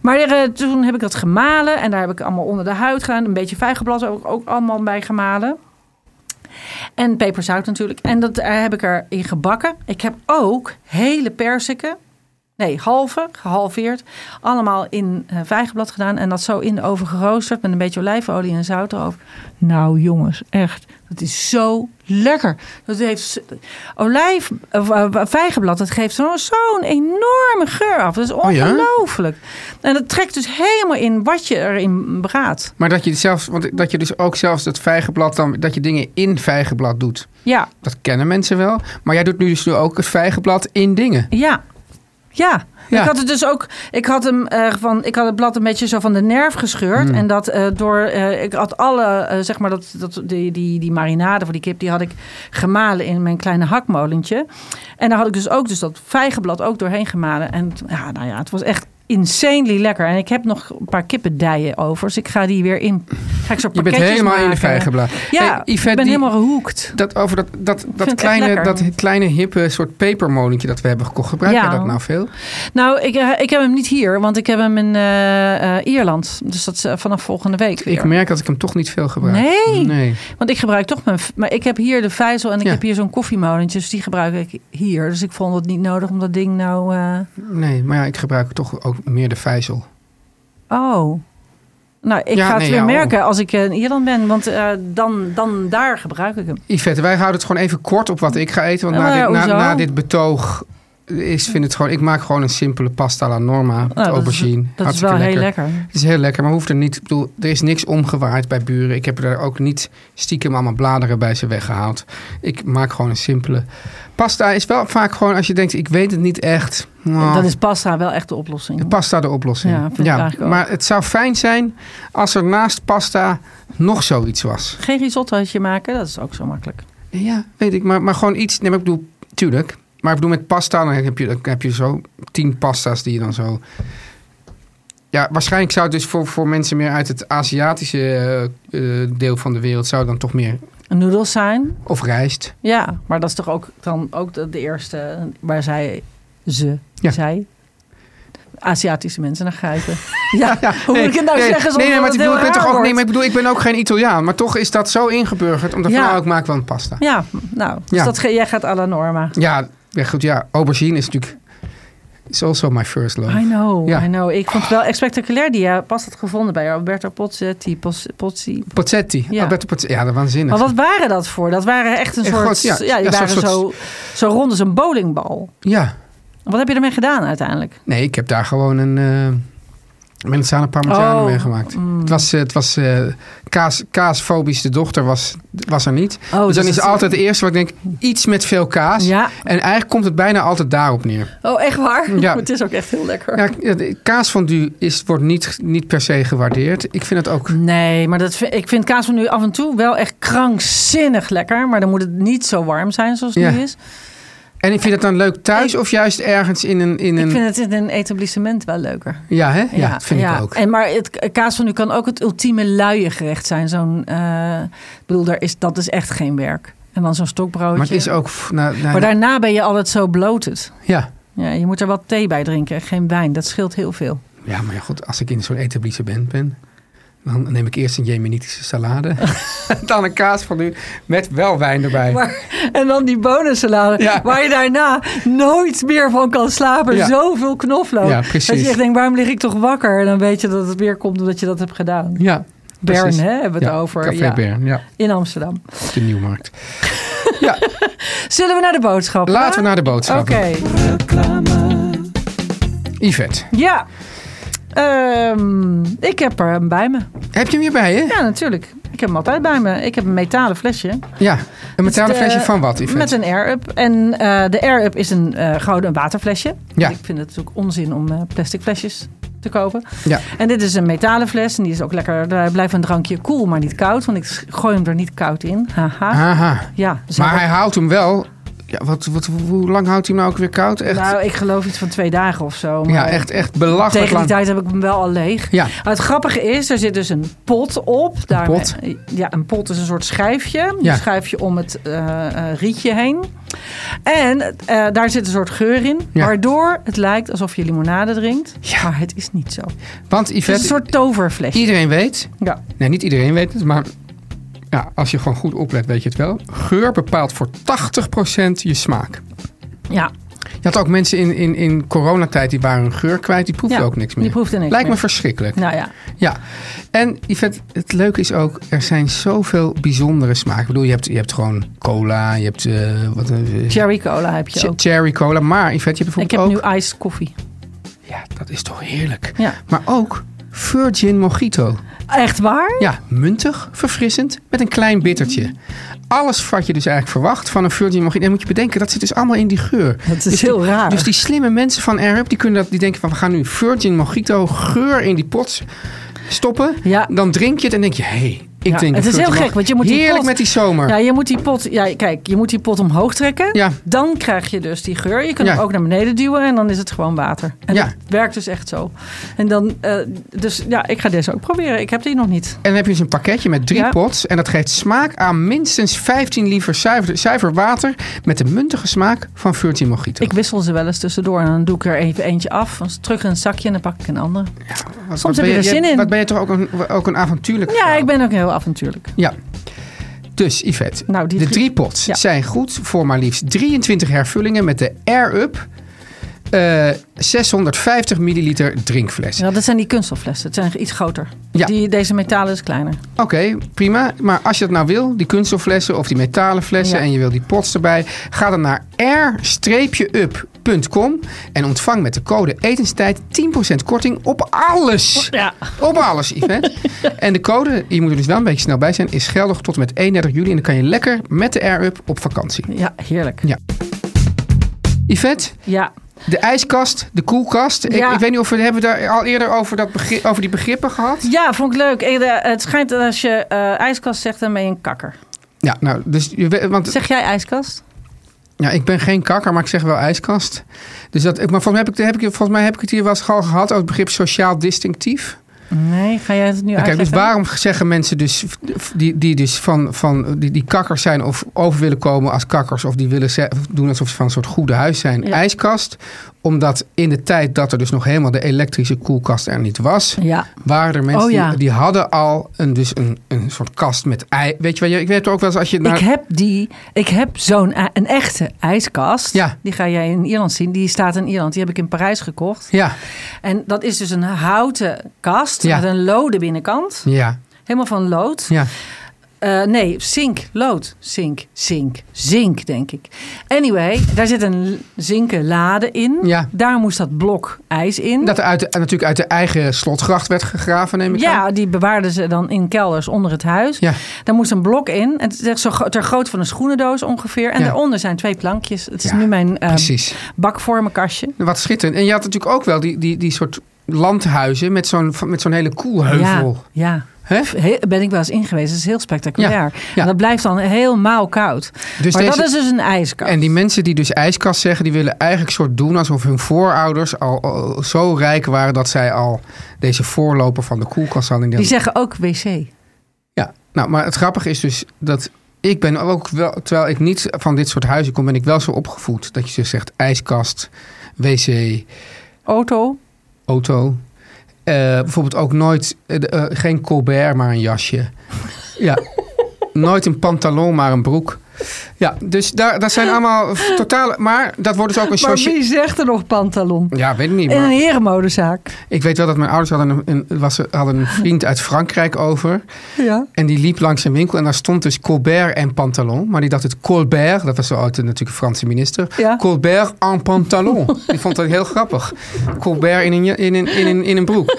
S3: Maar eh, toen heb ik dat gemalen. En daar heb ik allemaal onder de huid gedaan. Een beetje vijgenblad ook, ook allemaal bij gemalen. En peperzout natuurlijk. En dat eh, heb ik erin gebakken. Ik heb ook hele perziken... Nee, halve, gehalveerd. Allemaal in eh, vijgenblad gedaan. En dat zo in de oven geroosterd. Met een beetje olijfolie en zout erover. Nou jongens, echt. Dat is zo lekker. Dat heeft z- olijf, of, eh, vijgenblad, dat geeft zo- zo'n enorme geur af. Dat is
S2: ja?
S3: ongelooflijk. En dat trekt dus helemaal in wat je erin braadt.
S2: Maar dat je zelfs, want dat je dus ook zelfs dat vijgenblad dan, dat je dingen in vijgenblad doet.
S3: Ja,
S2: Dat kennen mensen wel. Maar jij doet nu dus ook het vijgenblad in dingen.
S3: ja. Ja.
S2: Ja.
S3: ik had het dus ook. Ik had, hem, eh, van, ik had het blad een beetje zo van de nerf gescheurd.
S2: Hmm.
S3: En dat eh, door. eh, ik had alle. eh, zeg maar dat, dat, die, die, die marinade voor die kip. die had ik gemalen in mijn kleine hakmolentje. En daar had ik dus ook dus dat vijgenblad ook doorheen gemalen. En het- ja, nou ja, het was echt insanely lekker. En ik heb nog een paar kippendijen over. Dus ik ga die weer in. Ga ik zo
S2: Je bent
S3: pakketjes
S2: helemaal in de
S3: maken.
S2: vijgenblad.
S3: Ja,
S2: Hey,
S3: ik
S2: Yvette,
S3: ben
S2: die-
S3: helemaal gehoekt.
S2: Dat over dat, dat, dat,
S3: echt
S2: kleine,
S3: lekker.
S2: dat kleine hippe soort pepermolentje dat we hebben gekocht. Gebruik
S3: Ja.
S2: jij dat nou veel?
S3: Nou, ik, eh, ik heb hem niet hier, want ik heb hem in eh, eh, Ierland. Dus dat is eh, vanaf volgende week.
S2: Ik
S3: weer.
S2: merk dat ik hem toch niet veel gebruik.
S3: Nee.
S2: nee.
S3: Want ik gebruik toch mijn. v- Maar ik heb hier de vijzel en ik
S2: Ja.
S3: heb hier zo'n koffiemolentje. Dus die gebruik ik hier. Dus ik vond het niet nodig om dat ding nou. eh,
S2: Nee, maar ja, ik gebruik toch ook meer de vijzel.
S3: Oh. Nou, ik
S2: Ja,
S3: ga het
S2: nee,
S3: weer
S2: ja, oh.
S3: merken als ik eh, in Ierland ben. Want eh, dan, dan daar gebruik ik hem.
S2: Yvette, wij houden het gewoon even kort op wat ik ga eten. Want
S3: Ja,
S2: na,
S3: maar
S2: dit, na,
S3: Eh, hoezo?
S2: na dit betoog is, vind het gewoon... Ik maak gewoon een simpele pasta alla norma met
S3: Nou,
S2: aubergine.
S3: Dat is, dat is
S2: Hartstikke
S3: wel heel lekker.
S2: Het is heel lekker, maar hoeft er niet... Ik bedoel, er is niks omgewaaid bij buren. Ik heb er ook niet stiekem allemaal bladeren bij ze weggehaald. Ik maak gewoon een simpele... Pasta is wel vaak gewoon, als je denkt, ik weet het niet echt. nou,
S3: Dat is pasta wel echt de oplossing.
S2: de pasta de oplossing.
S3: Ja, vind ik eigenlijk ook.
S2: Maar het zou fijn zijn als er naast pasta nog zoiets was.
S3: Geen risottootje maken, dat is ook zo makkelijk.
S2: Ja, weet ik. Maar, maar gewoon iets. Nee, maar ik bedoel, tuurlijk. Maar ik bedoel, met pasta, dan heb je, dan heb je zo tien pasta's die je dan zo. Ja, waarschijnlijk zou het dus voor, voor mensen meer uit het Aziatische eh, eh, deel van de wereld, zou het dan toch meer.
S3: Noedels zijn,
S2: Of rijst.
S3: Ja, maar dat is toch ook dan ook de, de eerste waar zij ze
S2: Ja.
S3: zij Aziatische mensen naar
S2: [LAUGHS]
S3: grijpen. Ja, hoe
S2: Nee,
S3: moet ik het nou
S2: nee,
S3: zeggen?
S2: Nee,
S3: zonder
S2: nee,
S3: dat
S2: maar, ik
S3: het
S2: bedoel, ik
S3: heel
S2: ben toch
S3: raar
S2: ook, nee, maar
S3: wordt?
S2: ik bedoel, ik ben ook geen Italiaan. Maar toch is dat zo ingeburgerd. Omdat
S3: Ja.
S2: van, nou, ik maak wel een pasta. Ja,
S3: Ja, nou, dus
S2: Ja.
S3: Dat, ge- jij gaat à la norma.
S2: ja, goed. Ja, aubergine is natuurlijk. Is also my first love.
S3: I know,
S2: Ja.
S3: I know. Ik vond het wel echt spectaculair. Die eh, pas had gevonden bij Alberto Pozzetti. Poz- Pozzi.
S2: Pozzetti. Oh,
S3: Ja.
S2: Alberto Pozzetti. Ja, dat waanzinnig.
S3: Maar wat waren dat voor? Dat waren echt een
S2: Echt
S3: soort...
S2: goed, ja.
S3: ja. die
S2: Ja,
S3: waren
S2: soort-
S3: zo, zo rond als een bowlingbal.
S2: Ja.
S3: Wat heb je ermee gedaan uiteindelijk?
S2: Nee, ik heb daar gewoon een eh Menzane Parmigiano
S3: Oh,
S2: mee gemaakt. Het was, eh, het was eh, kaas, kaasfobisch, de dochter was, was er niet.
S3: Oh,
S2: dus
S3: dus
S2: dan is
S3: het-
S2: altijd het eerste wat ik denk, iets met veel kaas.
S3: Ja.
S2: En eigenlijk komt het bijna altijd daarop neer.
S3: Oh, echt waar?
S2: Ja.
S3: [LAUGHS] het is ook echt heel lekker.
S2: Ja, kaasfondue is, wordt niet, niet per se gewaardeerd. Ik vind het
S3: Mm.
S2: ook...
S3: Nee, maar dat, vind- ik vind kaas van nu af en toe wel echt krankzinnig lekker. Maar dan moet het niet zo warm zijn zoals het
S2: Ja.
S3: nu is.
S2: En ik vind het dan leuk thuis of juist ergens in een... In
S3: Ik
S2: een
S3: vind het in een etablissement wel leuker.
S2: Ja, hè? Ja, dat vind ik ook.
S3: En maar het k- kaas van nu kan ook het ultieme luie gerecht zijn. Zo'n, eh, ik bedoel, daar is, dat is echt geen werk. En dan zo'n stokbroodje.
S2: Maar het is ook... f- Nou, nou,
S3: Maar daarna ben je altijd zo bloated.
S2: ja.
S3: Ja, je moet er wat thee bij drinken en geen wijn. Dat scheelt heel veel.
S2: ja, maar ja, goed, als ik in zo'n etablissement ben... dan neem ik eerst een jemenitische salade. [LAUGHS] dan een kaasfondue met wel wijn erbij.
S3: Maar, en dan die bonensalade,
S2: Ja.
S3: waar je daarna nooit meer van kan slapen.
S2: Ja.
S3: Zoveel knoflook.
S2: Ja, precies.
S3: Dat je echt denkt, waarom lig ik toch wakker? En dan weet je dat het weer komt omdat je dat hebt gedaan.
S2: Ja.
S3: Bern,
S2: precies.
S3: hè, hebben we het
S2: Ja,
S3: over.
S2: Café
S3: Ja.
S2: Bern, ja.
S3: In Amsterdam.
S2: Op de Nieuwmarkt. ja,
S3: Zullen we naar de boodschap?
S2: laten we naar de
S3: Oké,
S2: boodschap. Yvette,
S3: ja. Ehm, ik heb er hem bij me.
S2: heb je hem weer bij je? Ja.
S3: Ja, natuurlijk. Ik heb hem altijd bij me. Ik heb een metalen flesje.
S2: Een metalen
S3: Het is de-
S2: flesje van wat, Yvette?
S3: eh, Met een air-up. En eh, de air-up is een eh gouden waterflesje.
S2: Ja.
S3: Ik vind het natuurlijk onzin om eh, plastic flesjes te kopen.
S2: Ja.
S3: En dit is een metalen fles en die is ook lekker. Daar blijft een drankje koel, maar niet koud. Want ik sch- gooi hem er niet koud in. Haha.
S2: Aha.
S3: Ja, dus
S2: Ah. Maar
S3: dan-
S2: hij houdt hem wel. Ja, wat, wat, hoe lang houdt hij hem nou ook weer koud? Echt,
S3: Nou, ik geloof iets van twee dagen of zo. maar-
S2: ja, echt, echt belachelijk
S3: Tegen die
S2: lang.
S3: tijd heb ik hem wel al leeg.
S2: Ja.
S3: Maar het grappige is, er zit dus een pot op.
S2: pot?
S3: Ja, een pot is een soort schijfje.
S2: Ja.
S3: Een schijfje om het eh, eh, rietje heen. En eh, daar zit een soort geur in.
S2: Ja.
S3: Waardoor het lijkt alsof je limonade drinkt.
S2: Ja.
S3: Maar het is niet zo.
S2: Want
S3: Het is
S2: Yvette,
S3: een soort toverflesje.
S2: iedereen weet...
S3: Ja.
S2: Nee, niet iedereen weet het, maar... Ja, als je gewoon goed oplet, weet je het wel. Geur bepaalt voor 80% je smaak.
S3: ja.
S2: Je had ook mensen in, in, in coronatijd die waren hun geur kwijt. Die proefden
S3: Ja,
S2: ook niks
S3: die
S2: meer.
S3: proefden niks
S2: Lijkt me
S3: meer.
S2: verschrikkelijk.
S3: Nou ja.
S2: Ja, en Yvette, het leuke is ook, er zijn zoveel bijzondere smaken. Ik bedoel, je hebt, je hebt gewoon cola, je hebt eh, wat, eh,
S3: Cherry cola heb je
S2: che-
S3: ook.
S2: cherry cola. Maar Yvette, je hebt
S3: Ik heb
S2: bijvoorbeeld
S3: nu
S2: ook...
S3: iced koffie.
S2: Ja, dat is toch heerlijk.
S3: Ja.
S2: Maar ook virgin mojito.
S3: Echt waar?
S2: Ja, muntig, verfrissend, met een klein bittertje. Alles wat je dus eigenlijk verwacht van een virgin mojito. En moet je bedenken, dat zit dus allemaal in die geur.
S3: Dat
S2: Dus
S3: is heel
S2: die-
S3: raar.
S2: Dus die slimme mensen van Arab, die, kunnen dat, die denken van... we gaan nu virgin mojito geur in die pot stoppen.
S3: Ja.
S2: Dan drink je het en denk je... hé, hey, ik
S3: Ja,
S2: drink
S3: het
S2: een
S3: is heel
S2: virgin
S3: gek,
S2: mojito.
S3: want je moet die
S2: Heerlijk
S3: pot-
S2: met die zomer.
S3: Ja, je moet die pot, ja, kijk, je moet die pot omhoog trekken.
S2: Ja.
S3: Dan krijg je dus die geur. Je kunt
S2: Ja.
S3: hem ook naar beneden duwen en dan is het gewoon water. En
S2: Ja.
S3: dat werkt dus echt zo. En dan, eh, dus ja, ik ga deze ook proberen. Ik heb die nog niet.
S2: En dan heb je dus een pakketje met drie
S3: Ja.
S2: pots. En dat geeft smaak aan minstens 15 liter zuiver, zuiver water... met de muntige smaak van virgin mojito.
S3: Ik wissel ze wel eens tussendoor en dan doe ik er even eentje af. Dan is het terug in een zakje en dan pak ik een ander.
S2: Wat- wat
S3: soms heb
S2: ben
S3: je er
S2: jij-
S3: zin in.
S2: Wat ben je toch ook een, ook een avontuurlijk
S3: Ja,
S2: vrouw.
S3: ik ben ook heel avontuurlijk.
S2: Ja. Dus Yvette,
S3: Nou, die
S2: de
S3: drie-
S2: drie pots
S3: Ja.
S2: zijn goed voor maar liefst 23 hervullingen met de Air Up eh, 650 milliliter drinkfles.
S3: Ja, dat zijn die kunststofflessen. Het zijn iets groter.
S2: Ja.
S3: Die, deze metalen is kleiner.
S2: Oké, prima. Maar als je dat nou wil, die kunststofflessen of die metalen flessen
S3: Ja.
S2: en je wil die pots erbij, ga dan naar air-up.com en ontvang met de code etenstijd 10% korting op alles.
S3: Oh, Ja.
S2: Op alles,
S3: [LAUGHS]
S2: Yvette. En de code, je moet er dus wel een beetje snel bij zijn, is geldig tot en met 31 juli. En dan kan je lekker met de Air-Up op vakantie.
S3: Ja, heerlijk.
S2: Ja. Yvette,
S3: Ja.
S2: de ijskast, de koelkast. Ik,
S3: Ja.
S2: ik weet niet of we hebben we daar al eerder over, dat begri- over die begrippen gehad.
S3: Ja, vond ik leuk. Eh, de- Het schijnt dat als je eh, ijskast zegt, dan ben je een kakker.
S2: Ja, nou, dus, je we- want
S3: Zeg jij ijskast?
S2: ja, ik ben geen kakker, maar ik zeg wel ijskast. Dus dat, ik- maar volgens mij heb ik, heb ik, volgens mij heb ik het hier wel eens al gehad over het begrip sociaal distinctief.
S3: Nee, ga jij het nu
S2: Ja, Kijk, dus
S3: uitleggen?
S2: waarom zeggen mensen dus, die, die dus van, van die, die kakkers zijn of over willen komen als kakkers, of die willen ze- of doen alsof ze van een soort goede huis zijn,
S3: Ja.
S2: ijskast? Omdat in de tijd dat er dus nog helemaal de elektrische koelkast er niet was,
S3: Ja.
S2: waren er mensen
S3: Oh, ja.
S2: die, die hadden al een, dus een, een soort kast met ei. Weet je wel, je- ik weet ook wel eens als je naar.
S3: ik heb die, ik heb zo'n i- een echte ijskast.
S2: Ja.
S3: Die ga jij in Ierland zien. Die staat in Ierland. Die heb ik in Parijs gekocht.
S2: ja,
S3: En dat is dus een houten kast
S2: Ja.
S3: met een lode binnenkant.
S2: ja,
S3: Helemaal van lood.
S2: ja.
S3: Eh, nee, zink, lood, zink, zink, zink, denk ik. Anyway, daar zit een l- zinken lade in.
S2: Ja.
S3: Daar moest dat blok ijs in.
S2: Dat er uit de, natuurlijk uit de eigen slotgracht werd gegraven, neem ik aan.
S3: Ja, die bewaarden ze dan in kelders onder het huis.
S2: Ja.
S3: Daar moest een blok in. En het is echt zo gro- ter grootte van een schoenendoos ongeveer. En
S2: Ja.
S3: daaronder zijn twee plankjes. Het is
S2: Ja,
S3: nu mijn eh,
S2: precies.
S3: bakvormenkastje.
S2: Wat schitterend. En je had natuurlijk ook wel die, die, die soort landhuizen met zo'n, met zo'n hele koelheuvel.
S3: Ja, ja.
S2: Hè?
S3: He- ben ik wel eens ingeweest. Het is heel spectaculair.
S2: Ja, ja.
S3: En dat blijft dan helemaal koud.
S2: Dus
S3: maar dat
S2: deze-
S3: is dus een ijskast.
S2: En die mensen die dus ijskast zeggen, die willen eigenlijk soort doen alsof hun voorouders al, al zo rijk waren dat zij al deze voorloper van de koelkast hadden.
S3: Die zeggen ook wc.
S2: Ja, nou, maar het grappige is dus dat ik ben ook wel, terwijl ik niet van dit soort huizen kom, ben ik wel zo opgevoed dat je dus zegt ijskast, wc,
S3: Auto.
S2: auto. Eh, bijvoorbeeld ook nooit, eh, de- eh, geen colbert, maar een jasje.
S3: [LAUGHS]
S2: ja. Nooit een pantalon, maar een broek. Ja, dus daar, dat zijn allemaal v- totale... Maar dat wordt dus ook een
S3: Maar
S2: socia-
S3: wie Eh. zegt er nog pantalon?
S2: Ja, weet ik niet.
S3: In een
S2: Maar
S3: herenmodezaak.
S2: ik weet wel dat mijn ouders hadden een, een- was, hadden een vriend uit Frankrijk over.
S3: Ja.
S2: En die liep langs een winkel en daar stond dus Colbert en pantalon. Maar die dacht het Colbert, dat was zo uit natuurlijk een Franse minister.
S3: Ja.
S2: Colbert en pantalon. die vond dat heel grappig. Colbert in een, ja- in een, in een, in een broek.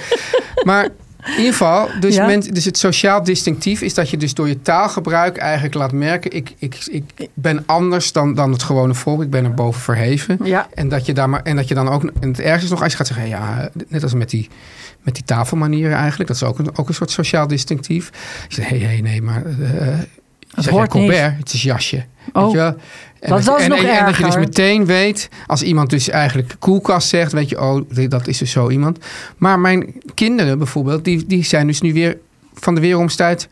S2: Maar in ieder geval, dus,
S3: Ja.
S2: men- dus het sociaal distinctief is dat je dus door je taalgebruik eigenlijk laat merken... ik, ik, ik ben anders dan, dan het gewone volk, ik ben er boven verheven.
S3: Ja.
S2: En, dat je daar maar, en dat je dan ook, en het ergste is nog, als je gaat zeggen... ja, net als met die, met die tafelmanieren eigenlijk, dat is ook een, ook een soort sociaal distinctief. Je zegt, hé, hey, hey, nee, maar... eh
S3: Het
S2: zeg jij
S3: hoort niet.
S2: Colbert, het is jasje.
S3: Oh.
S2: Weet je wel? En
S3: Dat was
S2: en,
S3: nog
S2: en, en dat je dus
S3: erger.
S2: meteen weet, als iemand dus eigenlijk koelkast zegt, weet je, oh, dit- dat is dus zo iemand. Maar mijn kinderen bijvoorbeeld, die, die zijn dus nu weer van de weeromstuit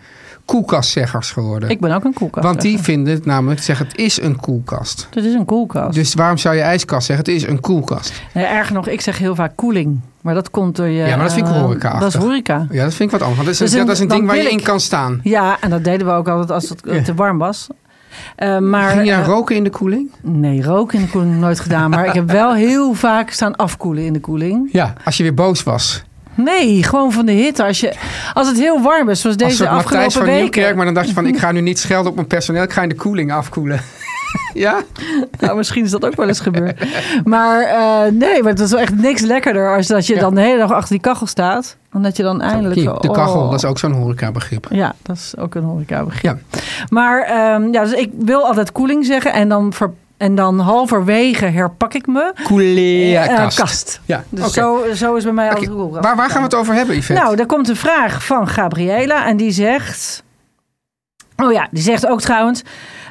S2: koelkastzeggers geworden.
S3: Ik ben ook een koelkast.
S2: Want die vinden het namelijk, zeggen het is een koelkast.
S3: Het is een koelkast.
S2: Dus waarom zou je ijskast zeggen? Het is een koelkast.
S3: Nee, erger nog, ik zeg heel vaak koeling. Maar dat komt door je...
S2: Ja, maar dat vind ik
S3: eh,
S2: horeca-achtig.
S3: Dat is horeca.
S2: Ja, dat vind ik wat anders. Want dat is,
S3: Dus
S2: een,
S3: een-
S2: dat is een
S3: dan
S2: ding waar je
S3: wil
S2: in
S3: ik-
S2: kan staan.
S3: Ja, en dat deden we ook altijd als het eh, te warm was. Eh, maar,
S2: Ging je dan
S3: eh,
S2: roken in de koeling?
S3: Nee, roken in de koeling nooit gedaan. Maar ik heb wel heel vaak staan afkoelen in de koeling.
S2: Ja. Als je weer boos was.
S3: Nee, gewoon van de hitte. Als, je, als het heel warm is, zoals
S2: Als een
S3: deze
S2: soort Matthijs
S3: afgelopen
S2: van Nieuwkerk.
S3: weken.
S2: Maar dan dacht je van, ik ga nu niet schelden op mijn personeel. Ik ga in de koeling afkoelen. [LAUGHS] ja?
S3: Nou, misschien is dat ook wel eens gebeurd. Maar eh, nee, maar het is wel echt niks lekkerder als dat je dan de hele dag achter die kachel staat. Omdat je dan eindelijk...
S2: Hier, de kachel,
S3: oh.
S2: dat is ook zo'n horecabegrip.
S3: Ja, dat is ook een horecabegrip.
S2: Ja.
S3: Maar ehm, ja, dus ik wil altijd koeling zeggen en dan, ver- en dan halverwege herpak ik me. Eh,
S2: Koelea-kast.
S3: kast.
S2: Ja,
S3: Dus
S2: oké.
S3: zo, zo is bij mij altijd
S2: Oké,
S3: de koelkast.
S2: Waar, waar gaan we het over hebben, Yvette?
S3: Nou, daar komt een vraag van Gabriela en die zegt... Oh ja, die zegt ook trouwens...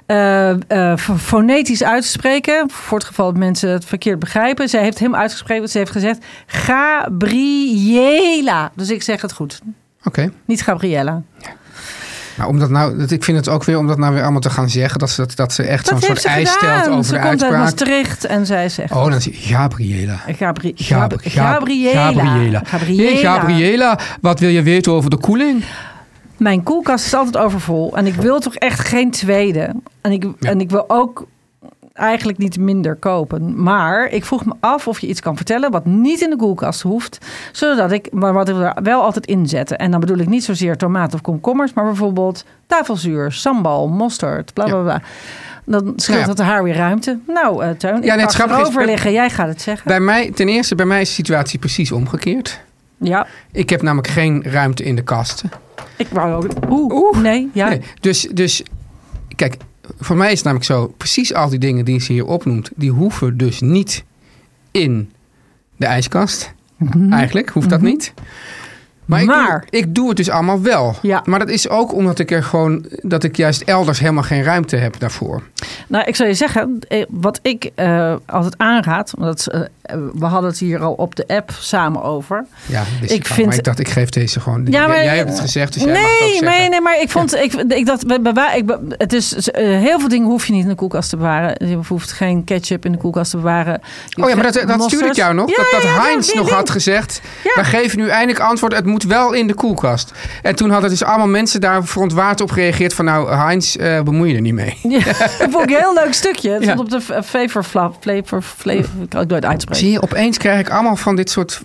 S3: eh, eh, f- fonetisch uitspreken, voor het geval dat mensen het verkeerd begrijpen. Zij heeft hem uitgesproken, ze heeft gezegd Gabriela. Dus ik zeg het goed,
S2: Oké.
S3: niet Gabriella.
S2: Nou, omdat nou, dat- ik vind het ook weer om dat nou weer allemaal te gaan zeggen. Dat ze, dat, dat ze echt zo'n
S3: Dat
S2: soort
S3: heeft ze
S2: eis
S3: gedaan.
S2: stelt over
S3: ze
S2: de
S3: komt uit
S2: uitspraak.
S3: Maastricht en zij zegt... eh,
S2: Oh, dan zie je Gabriela.
S3: Gabri
S2: Gab-
S3: Gab-
S2: Gab-
S3: Gabriela.
S2: Gabriela.
S3: Gabriela.
S2: Hey, Gabriela, wat wil je weten over de koeling?
S3: Mijn koelkast is altijd overvol. En ik wil toch echt geen tweede. En ik, en ik wil ook eigenlijk niet minder kopen. Maar ik vroeg me af of je iets kan vertellen wat niet in de koelkast hoeft. Zodat ik, maar wat ik er wel altijd in zette. En dan bedoel ik niet zozeer tomaat of komkommers. Maar bijvoorbeeld tafelzuur, sambal, mosterd, bla bla bla. Dan scheelt
S2: Nou ja.
S3: dat haar weer ruimte. Nou, eh Tuin,
S2: nee, het
S3: ik ga
S2: grappige is,
S3: erover
S2: bij-
S3: liggen. Jij gaat het zeggen.
S2: Bij mij, ten eerste, bij mij is de situatie precies omgekeerd.
S3: ja.
S2: Ik heb namelijk geen ruimte in de kasten.
S3: Ik wou ook. Oeh,
S2: Oeh.
S3: nee, ja.
S2: Nee, dus, dus, kijk, voor mij is het namelijk zo... precies al die dingen die ze hier opnoemt... die hoeven dus niet in de ijskast. Eigenlijk hoeft dat niet. Maar, ik,
S3: Mhm. Maar-
S2: Doe, ik doe het dus allemaal wel.
S3: Ja.
S2: Maar dat is ook omdat ik er gewoon... dat ik juist elders helemaal geen ruimte heb daarvoor.
S3: Nou, ik zou je zeggen, eh, wat ik eh, altijd aanraad, want dat is, eh, we hadden het hier al op de app samen over.
S2: Ja, dat wist
S3: Ik
S2: ik al,
S3: vind-
S2: maar ik dacht, ik geef deze gewoon...
S3: Ja,
S2: jij-
S3: maar-
S2: jij hebt het gezegd, dus jij
S3: nee,
S2: mag het ook zeggen.
S3: nee, nee, maar ik vond, ik, ik dacht, bij- bij- bij- ik, be- het is eh, heel veel dingen hoef je niet in de koelkast te bewaren. Je hoeft geen ketchup in de koelkast te bewaren. Je
S2: Oh ja, maar dat,
S3: hoeft geen
S2: dat stuurde ik
S3: mosterd.
S2: jou nog.
S3: Ja,
S2: dat dat
S3: ja, ja,
S2: Heinz
S3: die
S2: nog
S3: ding.
S2: had gezegd.
S3: Ja.
S2: We geven nu eindelijk antwoord. Het moet wel in de koelkast. En toen hadden dus allemaal mensen daar verontwaard op gereageerd. Van nou, Heinz, eh, bemoei je er niet mee.
S3: [LAUGHS] Ja, dat vond ik een heel leuk stukje. Het
S2: Ja.
S3: stond op de v- eh, flavor flap, flavor, flavor, ik kan het nooit uitspreken.
S2: Zie je, opeens krijg ik allemaal van dit soort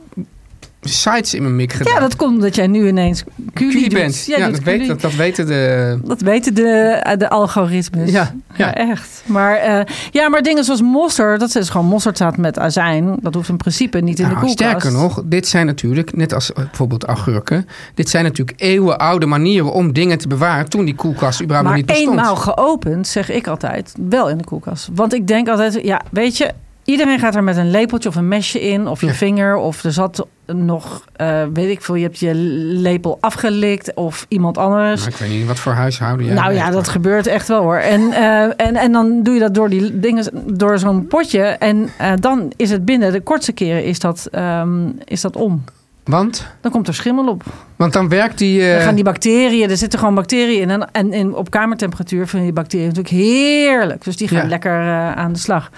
S2: sites in mijn mik gedaan.
S3: Ja, dat dus. komt omdat jij nu ineens culie
S2: Curie
S3: doet.
S2: bent.
S3: Jij
S2: Ja,
S3: doet
S2: dat, weet,
S3: culie.
S2: dat, dat weten de...
S3: Dat weten de, de algoritmes.
S2: Ja, ja.
S3: echt. Maar, eh, ja, maar dingen zoals mosterd, dat is gewoon mosterdzaad met azijn. Dat hoeft in principe niet in de
S2: Nou,
S3: koelkast.
S2: sterker nog, dit zijn natuurlijk, net als eh, bijvoorbeeld augurken... dit zijn natuurlijk eeuwenoude manieren om dingen te bewaren... toen die koelkast überhaupt nog niet
S3: Maar
S2: bestond.
S3: eenmaal geopend, zeg ik altijd, wel in de koelkast. Want ik denk altijd, ja, weet je, iedereen gaat er met een lepeltje of een mesje in, of je
S2: Ja.
S3: vinger, of er zat nog, eh, weet ik veel, je hebt je lepel afgelikt, of iemand anders.
S2: Nou, ik weet niet wat voor huishouden jij
S3: nou
S2: weet,
S3: ja,
S2: maar-
S3: dat gebeurt echt wel hoor. En, eh, en, en dan doe je dat door die dingen, door zo'n potje. En eh, dan is het binnen de kortste keren is dat, ehm, is dat om.
S2: Want?
S3: Dan komt er schimmel op.
S2: Want dan werkt die... eh,
S3: Dan gaan die bacteriën, er zitten gewoon bacteriën in. En, en, en op kamertemperatuur vinden die bacteriën natuurlijk heerlijk. Dus die gaan
S2: Ja.
S3: lekker eh, aan de slag.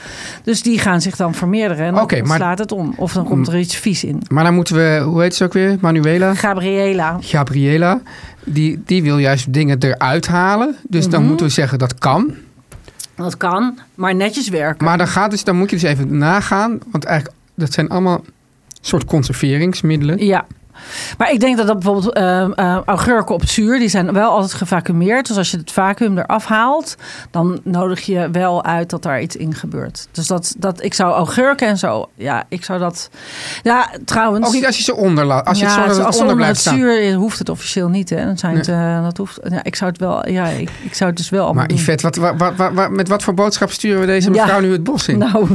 S3: Dus die gaan zich dan vermeerderen en dan
S2: Oké, maar-
S3: slaat het om. Of dan komt er iets vies in.
S2: Maar dan moeten we, hoe heet ze ook weer? Manuela?
S3: Gabriela.
S2: Gabriela. Die, die wil juist dingen eruit halen. Dus
S3: Mhm.
S2: dan moeten we zeggen dat kan.
S3: Dat kan, maar netjes werken.
S2: Maar dan, gaat dus, dan moet je dus even nagaan. Want eigenlijk, dat zijn allemaal soort conserveringsmiddelen.
S3: Ja, Maar ik denk dat dat bijvoorbeeld eh, eh, augurken op het zuur, die zijn wel altijd gevacumeerd. Dus als je het vacuüm eraf haalt, dan nodig je wel uit dat daar iets in gebeurt. Dus dat, dat ik zou augurken en zo, ja, ik zou dat. Ja, trouwens.
S2: Ook niet als je ze onder laat. Als je
S3: ja,
S2: het zo dat het
S3: als ze
S2: onder
S3: onder
S2: blijft
S3: het
S2: staan.
S3: zuur is, hoeft het officieel niet. Hè. Dan zijn het, eh, dat hoeft, ja, ik zou het wel, ja, ik, ik zou het dus wel allemaal
S2: Maar
S3: doen.
S2: Yvette, wat, wat, wat, wat- met wat voor boodschap sturen we deze
S3: Ja.
S2: mevrouw nu het bos in? [LAUGHS]
S3: Nou,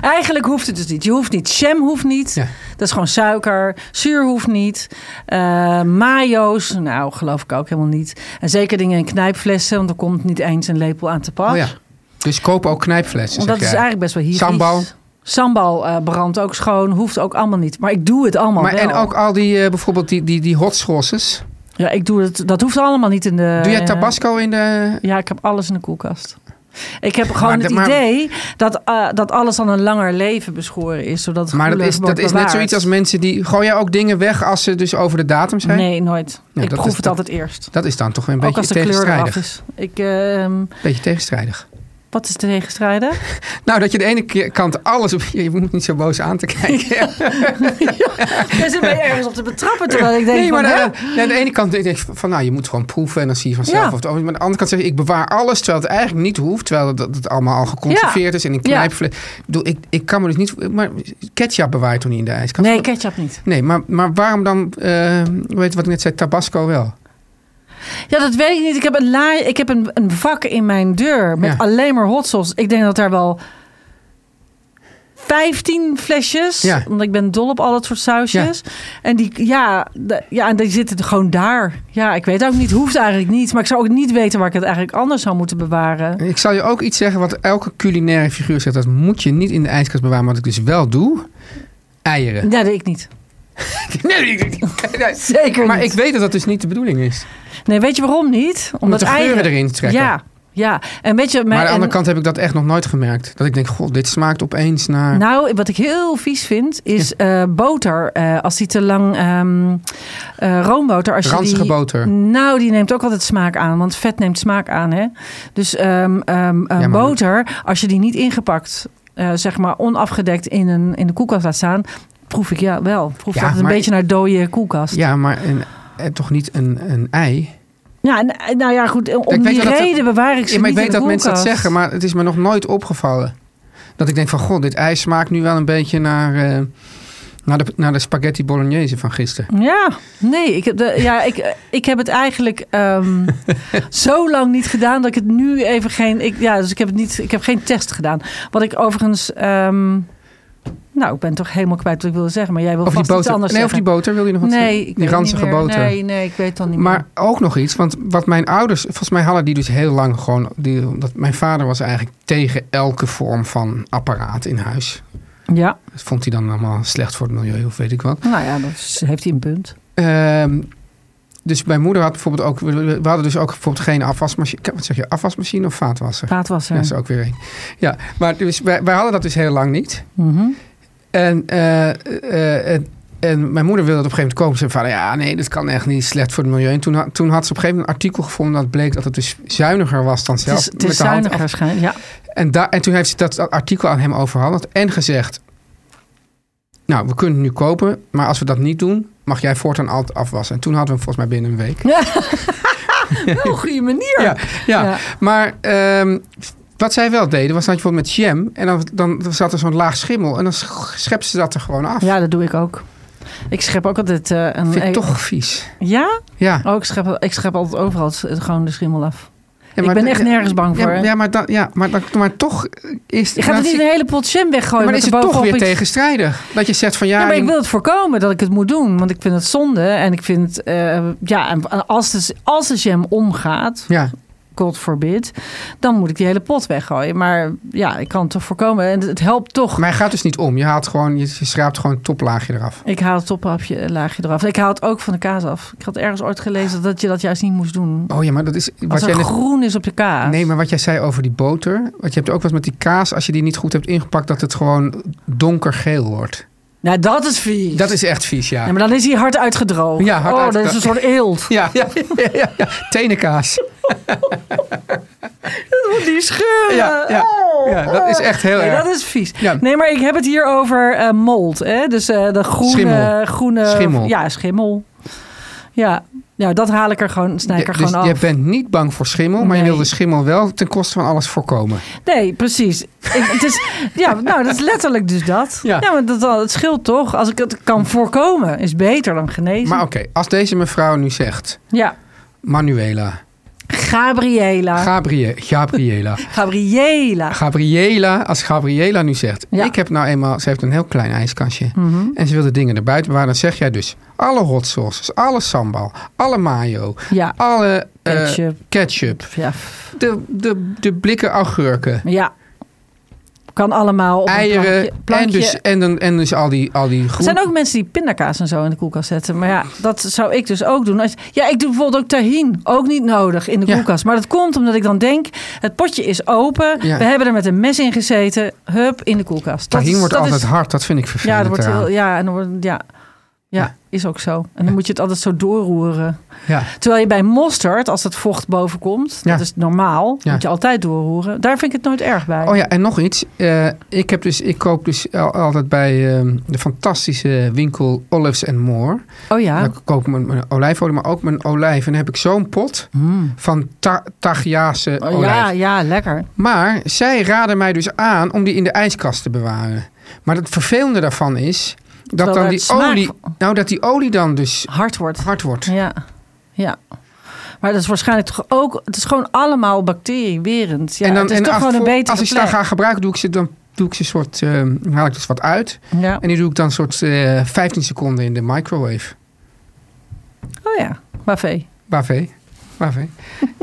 S3: eigenlijk hoeft het dus niet. Je hoeft niet. Sham hoeft niet.
S2: Ja.
S3: Dat is gewoon suiker. Zuur hoeft niet. Eh, mayo's, nou geloof ik ook helemaal niet. En zeker dingen in knijpflessen, want er komt niet eens een lepel aan te pas.
S2: Oh ja. Dus koop ook knijpflessen,
S3: Want dat
S2: zeg
S3: is
S2: jij.
S3: eigenlijk best wel hier.
S2: Sambal.
S3: Sambal eh, brandt ook schoon, hoeft ook allemaal niet. Maar ik doe het allemaal
S2: Maar
S3: wel.
S2: en ook al die, eh, bijvoorbeeld die, die, die hot sauces.
S3: Ja, ik doe het. Dat hoeft allemaal niet in de.
S2: Doe jij
S3: eh,
S2: tabasco in de...
S3: Ja, ik heb alles in de koelkast. Ik heb gewoon
S2: Maar
S3: het
S2: de- maar-
S3: idee dat, eh, dat alles dan een langer leven beschoren is. Zodat het
S2: Maar dat
S3: goedelijk
S2: is, dat
S3: wordt
S2: is net
S3: bewaard.
S2: zoiets als mensen die... Gooi jij ook dingen weg als ze dus over de datum zijn?
S3: Nee, nooit.
S2: Ja,
S3: ik
S2: dat
S3: proef
S2: is
S3: het
S2: dat-
S3: altijd eerst.
S2: Dat is dan toch weer een
S3: Ook als
S2: beetje
S3: de kleur eraf
S2: tegenstrijdig.
S3: is. Ik, ehm,
S2: Beetje tegenstrijdig.
S3: wat is
S2: [LAUGHS]
S3: de tegenstrijder?
S2: Nou, dat je de ene keer kant alles... Op, [LAUGHS] je moet niet zo boos aan te
S3: [LAUGHS]
S2: kijken.
S3: Jij zit mij ergens op te betrappen terwijl ik denk
S2: nee, maar
S3: van, hè?
S2: de, nee, aan de ene kant denk ik van... Nou, je moet gewoon proeven en dan zie je vanzelf. Of
S3: Ja.
S2: het, maar aan de andere kant zeg je... Ik bewaar alles terwijl het eigenlijk niet hoeft. Terwijl het, dat het allemaal al geconserveerd is. En een
S3: Ja.
S2: knijpfles... Ik bedoel, Ik, ik kan me dus niet... Maar ketchup bewaar je toch niet in de ijskast?
S3: Nee, ketchup niet.
S2: Nee, maar, maar waarom dan, eh weet je wat ik net zei, Tabasco wel?
S3: Ja, dat weet ik niet. Ik heb een, la ik heb een, een vak in mijn deur met
S2: Ja.
S3: alleen maar hot sauce. Ik denk dat daar wel 15 flesjes,
S2: Ja.
S3: want ik ben dol op al dat soort sausjes. En die, ja, de- ja, en die zitten gewoon daar. Ja, ik weet ook niet, hoeft eigenlijk niet. Maar ik zou ook niet weten waar ik het eigenlijk anders zou moeten bewaren.
S2: Ik zal je ook iets zeggen wat elke culinaire figuur zegt. Dat moet je niet in de ijskast bewaren. maar Wat ik dus wel doe, eieren. [LAUGHS]
S3: Nee, dat deed ik niet.
S2: Nee, nee, nee, nee.
S3: Zeker
S2: Maar
S3: niet.
S2: ik weet dat dat dus niet de bedoeling is.
S3: Nee, weet je waarom niet? Omdat,
S2: de geuren erin trekken.
S3: Ja, ja. En weet je,
S2: Maar aan de
S3: en-
S2: andere kant heb ik dat echt nog nooit gemerkt. Dat ik denk, god, dit smaakt opeens naar...
S3: Nou, wat ik heel vies vind is eh, boter. Eh, als die te lang ehm eh, roomboter. Als
S2: Ranzige
S3: je die,
S2: boter.
S3: Nou, die neemt ook altijd smaak aan, want vet neemt smaak aan, hè? Dus ehm, ehm, eh,
S2: Ja, maar-
S3: boter, als je die niet ingepakt, eh, zeg maar onafgedekt in een in de koelkast laat staan, proef ik ja wel. Proef
S2: Ja,
S3: dat het een
S2: maar-
S3: beetje naar dode koelkast. Ja,
S2: Ja, maar een, eh, toch niet een, een ei.
S3: en, eh, nou ja, goed. Om
S2: Ik weet
S3: die
S2: wel dat er-
S3: reden bewaar ik ze
S2: Ja, maar ik
S3: niet
S2: weet
S3: in de
S2: dat mensen dat
S3: koelkast.
S2: zeggen, maar het is me nog nooit opgevallen. Dat ik denk van, god, dit ei smaakt nu wel een beetje naar, eh, naar, de, naar de spaghetti bolognese van gisteren.
S3: Ja, nee, ik heb, de, ja, ik, ik heb het eigenlijk
S2: [LAUGHS]
S3: ehm, zo lang niet gedaan dat ik het nu even geen. Ik, ja, dus ik heb, het niet, ik heb geen test gedaan. Wat ik overigens. ehm, nou, ik ben toch helemaal kwijt wat ik wilde zeggen, maar jij wil
S2: Of die
S3: vast iets
S2: boter. Nee,
S3: anders
S2: of die
S3: zeggen.
S2: boter wil je nog wat
S3: nee,
S2: zeggen?
S3: ik
S2: die
S3: weet het niet
S2: ranzige
S3: meer.
S2: boter.
S3: Nee, nee, ik weet het dan niet
S2: Maar
S3: meer.
S2: ook nog iets, want wat mijn ouders, volgens mij hadden die dus heel lang gewoon, die, omdat mijn vader was eigenlijk tegen elke vorm van apparaat in huis.
S3: Ja,
S2: Dat vond hij dan allemaal slecht voor het milieu of weet ik wat.
S3: nou ja, dat is- heeft hij een punt.
S2: Ehm, dus mijn moeder had bijvoorbeeld ook, we, we- we hadden dus ook bijvoorbeeld geen afwasmachine, wat zeg je, afwasmachine of vaatwasser?
S3: Vaatwasser.
S2: Ja, dat is ook weer één. Ja, maar dus wij, wij hadden dat dus heel lang niet.
S3: Mhm.
S2: En, eh, eh, en, en mijn moeder wilde dat op een gegeven moment komen. Ze zei van, ja, nee, dat kan echt niet slecht voor het milieu. En toen, ha- toen had ze op een gegeven moment een artikel gevonden... dat bleek dat het dus zuiniger was dan
S3: Het
S2: zelf.
S3: is, het is
S2: de hand
S3: zuiniger,
S2: af-
S3: schijn. Ja.
S2: En, da- en toen heeft ze dat artikel aan hem overhandigd en gezegd... nou, we kunnen het nu kopen, maar als we dat niet doen... mag jij voortaan altijd afwassen. En toen hadden we hem volgens mij binnen een week.
S3: Wel een goede manier.
S2: Ja, ja.
S3: Ja.
S2: maar ehm, wat zij wel deden, was dat je bijvoorbeeld met jam... en dan, dan zat er zo'n laag schimmel en dan sch- schepte ze dat er gewoon af.
S3: Ja, dat doe ik ook. Ik schep ook altijd eh, een.
S2: Vind ik toch vies.
S3: Ja?
S2: Ja.
S3: Oh, ik schep, ik schep altijd overal het- het- gewoon de schimmel af.
S2: Ja,
S3: Ik ben echt nergens bang
S2: ja,
S3: voor, hè?
S2: Ja, maar, dan, ja, maar, dan, maar toch is
S3: Je gaat er
S2: dan
S3: niet
S2: zie-
S3: een hele pot jam weggooien.
S2: maar dan
S3: met
S2: is
S3: er
S2: het toch
S3: bovenop
S2: weer
S3: iets-
S2: tegenstrijdig. Dat je zegt van ja,
S3: Ja, maar
S2: je
S3: ik
S2: moet-
S3: wil het voorkomen dat ik het moet doen. Want ik vind het zonde. En ik vind, het, eh, ja, en als de, als de jam omgaat,
S2: ja.
S3: God forbid, dan moet ik die hele pot weggooien. Maar ja, ik kan het toch voorkomen. En het helpt toch.
S2: maar hij gaat dus niet om. Je, haalt gewoon, je, je schraapt gewoon het toplaagje eraf.
S3: Ik haal het toplaagje laagje eraf. Ik haal het ook van de kaas af. Ik had ergens ooit gelezen dat je dat juist niet moest doen.
S2: Oh ja, maar dat is wat
S3: Als
S2: jij
S3: er
S2: net-
S3: groen is op de kaas.
S2: Nee, maar wat jij zei over die boter. Want je hebt ook wel eens met die kaas, als je die niet goed hebt ingepakt, dat het gewoon donkergeel wordt.
S3: Nou, dat is vies.
S2: Dat is echt vies, ja.
S3: Ja, maar dan is hij hard uitgedroogd.
S2: Ja, hard
S3: oh, dat is
S2: uitgedroogd.
S3: een soort eelt.
S2: Ja, ja, ja, ja, ja. Tenenkaas.
S3: [LAUGHS] Dat moet Oh, die schuren.
S2: Ja, ja,
S3: Oh,
S2: ja, dat
S3: oh.
S2: is echt heel
S3: nee,
S2: erg.
S3: dat is vies.
S2: Ja.
S3: Nee, maar ik heb het hier over eh, mold. Hè? Dus eh de groene...
S2: Schimmel.
S3: groene
S2: Schimmel.
S3: Ja, schimmel. Ja. ja, dat haal ik er gewoon, snij ik
S2: Je-
S3: er
S2: dus
S3: gewoon af.
S2: je bent niet bang voor schimmel, maar je
S3: Nee.
S2: wil de schimmel wel ten koste van alles voorkomen.
S3: Nee, precies. Ik, het is, ja, nou, dat is letterlijk dus dat.
S2: Ja.
S3: Ja, maar dat, dat scheelt toch. Als ik het kan voorkomen, is beter dan genezen.
S2: Maar oké, als deze mevrouw nu zegt,
S3: Ja.
S2: Manuela,
S3: Gabriela.
S2: Gabrië, Gabriela,
S3: Gabriela.
S2: Gabriela, als Gabriela nu zegt,
S3: Ja. Mhm.
S2: ik heb nou eenmaal, ze heeft een heel klein ijskastje en ze wil de dingen erbuiten bewaren, dan zeg jij dus alle hot sauces, alle sambal, alle mayo,
S3: Ja.
S2: alle eh,
S3: Ketchup.
S2: ketchup,
S3: Ja.
S2: de, de, de blikken augurken,
S3: ja. Kan allemaal op een plankje.
S2: eieren
S3: plankje.
S2: en dus, en, dan, en dus al die, al die
S3: Er
S2: groenten.
S3: zijn ook mensen die pindakaas en zo in de koelkast zetten. Maar ja, dat zou ik dus ook doen. Als- Ja, ik doe bijvoorbeeld ook tahin. Ook niet nodig in de
S2: Ja.
S3: koelkast. Maar dat komt omdat ik dan denk, het potje is open.
S2: Ja.
S3: We hebben er met een mes in gezeten. Hup, in de koelkast. Dat
S2: Tahin
S3: is-
S2: wordt
S3: dat
S2: altijd
S3: is-
S2: hard, dat vind ik
S3: Ja,
S2: vervelend
S3: dat wordt
S2: eraan.
S3: heel, ja, en dan wordt, ja. Ja,
S2: Ja.
S3: is ook zo. En dan moet je het altijd zo doorroeren.
S2: Ja.
S3: Terwijl je bij mosterd, als dat vocht boven komt,
S2: Ja.
S3: dat is normaal,
S2: Ja.
S3: moet je altijd doorroeren. Daar vind ik het nooit erg bij.
S2: Oh ja, en nog iets. Eh, ik, heb dus, ik koop dus al- altijd bij ehm, de fantastische winkel Olives and More.
S3: Oh ja.
S2: Dan koop ik mijn, mijn olijfolie, maar ook mijn olijf. En dan heb ik zo'n pot van ta Tagiaanse
S3: Hmm. Oh
S2: olijf.
S3: ja, ja, lekker.
S2: Maar zij raden mij dus aan om die in de ijskast te bewaren. Maar het vervelende daarvan is dat
S3: Terwijl
S2: dan
S3: er
S2: die
S3: het smaak-
S2: olie, nou, dat die olie dan dus
S3: Hard wordt.
S2: hard wordt.
S3: Ja, ja. Maar dat is waarschijnlijk toch ook... Het is gewoon allemaal bacteriewerend. Ja,
S2: en dan,
S3: het is
S2: en
S3: toch
S2: als,
S3: gewoon een
S2: voor-
S3: betere
S2: als ik ze
S3: plek.
S2: dan ga gebruiken, doe ik ze dan doe ik ze soort, ehm, haal ik dus wat uit.
S3: Ja.
S2: En die doe ik dan soort eh 15 seconden in de microwave.
S3: Oh ja, wafé.
S2: Bavé.
S3: [LAUGHS]
S2: Bavé.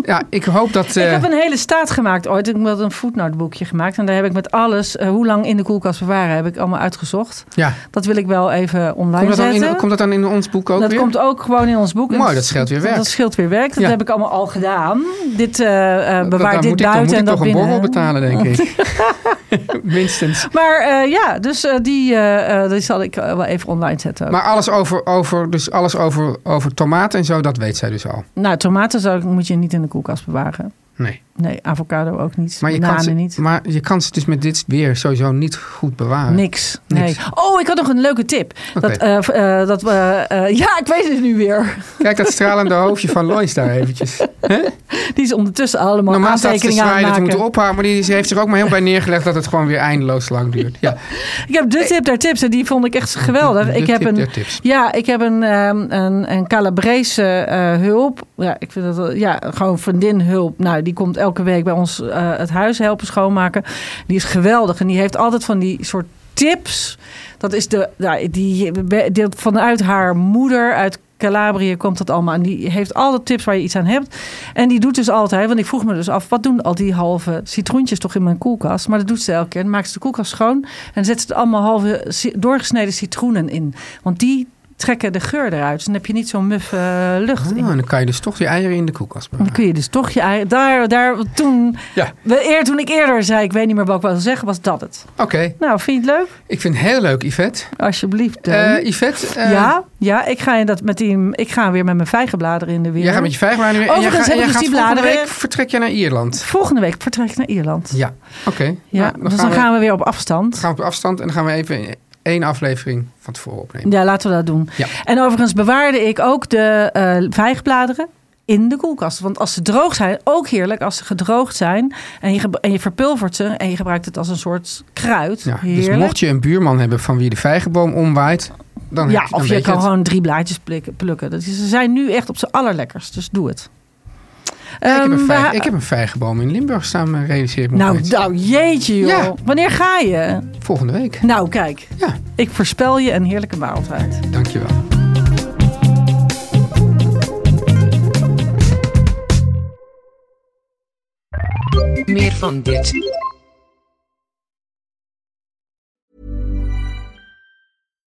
S2: Ja, ik hoop dat... eh,
S3: Ik heb een hele staat gemaakt ooit. Ik heb een footnoteboekje gemaakt. En daar heb ik met alles, eh, hoe lang in de koelkast bewaren, heb ik allemaal uitgezocht.
S2: ja.
S3: Dat wil ik wel even online
S2: komt, dat dan
S3: zetten.
S2: in, komt dat dan in ons boek ook
S3: dat
S2: weer?
S3: komt ook gewoon in ons boek.
S2: Mooi,
S3: En
S2: dat scheelt weer werk.
S3: Dat scheelt weer werk. Dat
S2: Ja.
S3: heb ik allemaal al gedaan. Dit eh, eh,
S2: Dat-
S3: bewaar
S2: daar
S3: dit
S2: moet ik, dan moet
S3: buiten en
S2: ik
S3: dat
S2: toch een
S3: binnen.
S2: borrel betalen, denk ik.
S3: [LAUGHS]
S2: Minstens.
S3: Maar eh, ja, dus eh, die, eh, eh, die zal ik eh, wel even online zetten. ook.
S2: Maar alles over, over, dus alles over, over tomaten en zo, dat weet zij dus al.
S3: Nou, tomaten zou, ik- moet je niet in de koelkast bewaren.
S2: Nee.
S3: Nee, avocado ook niet.
S2: Maar je, kan
S3: Bananen
S2: ze,
S3: niet.
S2: maar je kan ze dus met dit weer sowieso niet goed bewaren.
S3: Niks. Nee.
S2: Niks.
S3: Oh, ik had nog een leuke tip.
S2: Oké.
S3: Dat, eh, v- eh, dat we, eh, ja, ik weet het nu weer. [LAUGHS]
S2: Kijk dat stralende hoofdje van Lois daar eventjes.
S3: Die is ondertussen allemaal
S2: Normaal staat ze te
S3: aantekeningen aan het
S2: zwaaien dat we moeten
S3: maken.
S2: ophouden, maar die, ze heeft zich ook maar heel bij neergelegd dat het gewoon weer eindeloos lang duurt.
S3: [LAUGHS]
S2: Ja.
S3: Ik heb de tip daar tips en die vond ik echt geweldig.
S2: De
S3: ik heb
S2: tip
S3: een,
S2: der tips.
S3: Ja, ik heb een, ehm, een, een Calabrese eh, hulp. Ja, ik vind dat wel- ja, gewoon vriendin hulp. Nou, die komt elke week bij ons eh, het huis helpen schoonmaken. Die is geweldig en die heeft altijd van die soort tips. Dat is de, nou, die, die vanuit haar moeder uit Calabrië komt dat allemaal. En die heeft altijd tips waar je iets aan hebt. En die doet dus altijd, want ik vroeg me dus af, wat doen al die halve citroentjes toch in mijn koelkast? Maar dat doet ze elke keer. Dan maakt ze de koelkast schoon en zet ze er allemaal halve ci- doorgesneden citroenen in. Want die trekken de geur eruit. Dus dan heb je niet zo'n muffe eh, lucht
S2: Ah,
S3: in.
S2: en dan kan je dus toch die eieren in de koelkast
S3: Dan
S2: bewaren.
S3: kun je dus toch je eigen... Daar, daar, toen,
S2: Ja.
S3: we, eer, toen ik eerder zei, ik weet niet meer wat ik wil zeggen, was dat het.
S2: Oké,
S3: Nou, vind je het leuk?
S2: ik vind het heel leuk, Yvette.
S3: Alsjeblieft. Teun.
S2: Eh Yvette, eh,
S3: ja, ja ik, ga in dat met die, ik ga weer met mijn vijgenbladeren in de weer.
S2: jij gaat met je vijgenbladeren weer. en jij
S3: Overigens
S2: gaat-
S3: heb
S2: en
S3: ik
S2: jij
S3: dus
S2: gaat
S3: die
S2: volgende
S3: bladeren-
S2: week vertrek je naar Ierland.
S3: Volgende week vertrek ik naar Ierland.
S2: Ja, oké.
S3: Ja,
S2: Nou,
S3: dus dan gaan we weer op afstand.
S2: gaan we op afstand en dan gaan we even één aflevering van tevoren opnemen.
S3: Ja, laten we dat doen.
S2: Ja.
S3: En overigens bewaarde ik ook de eh vijgbladeren in de koelkast. Want als ze droog zijn, ook heerlijk als ze gedroogd zijn. En je, ge- en je verpulvert ze en je gebruikt het als een soort kruid.
S2: Ja, dus
S3: heerlijk.
S2: mocht je een buurman hebben van wie de vijgenboom omwaait, dan heb
S3: ja,
S2: je, dan
S3: of je
S2: weet
S3: kan
S2: het.
S3: gewoon drie blaadjes plikken- plukken. Dat is, ze zijn nu echt op z'n allerlekkers, dus doe het.
S2: Ja, ik, heb een
S3: Ehm,
S2: vijg-
S3: we-
S2: ik heb een vijgenboom in Limburg staan, eh, realiseer ik me
S3: nou,
S2: opeens.
S3: nou, jeetje joh.
S2: Ja.
S3: Wanneer ga je?
S2: Volgende week.
S3: Nou, kijk.
S2: Ja,
S3: Ik voorspel je een heerlijke maaltijd.
S2: dankjewel.
S4: Meer van dit.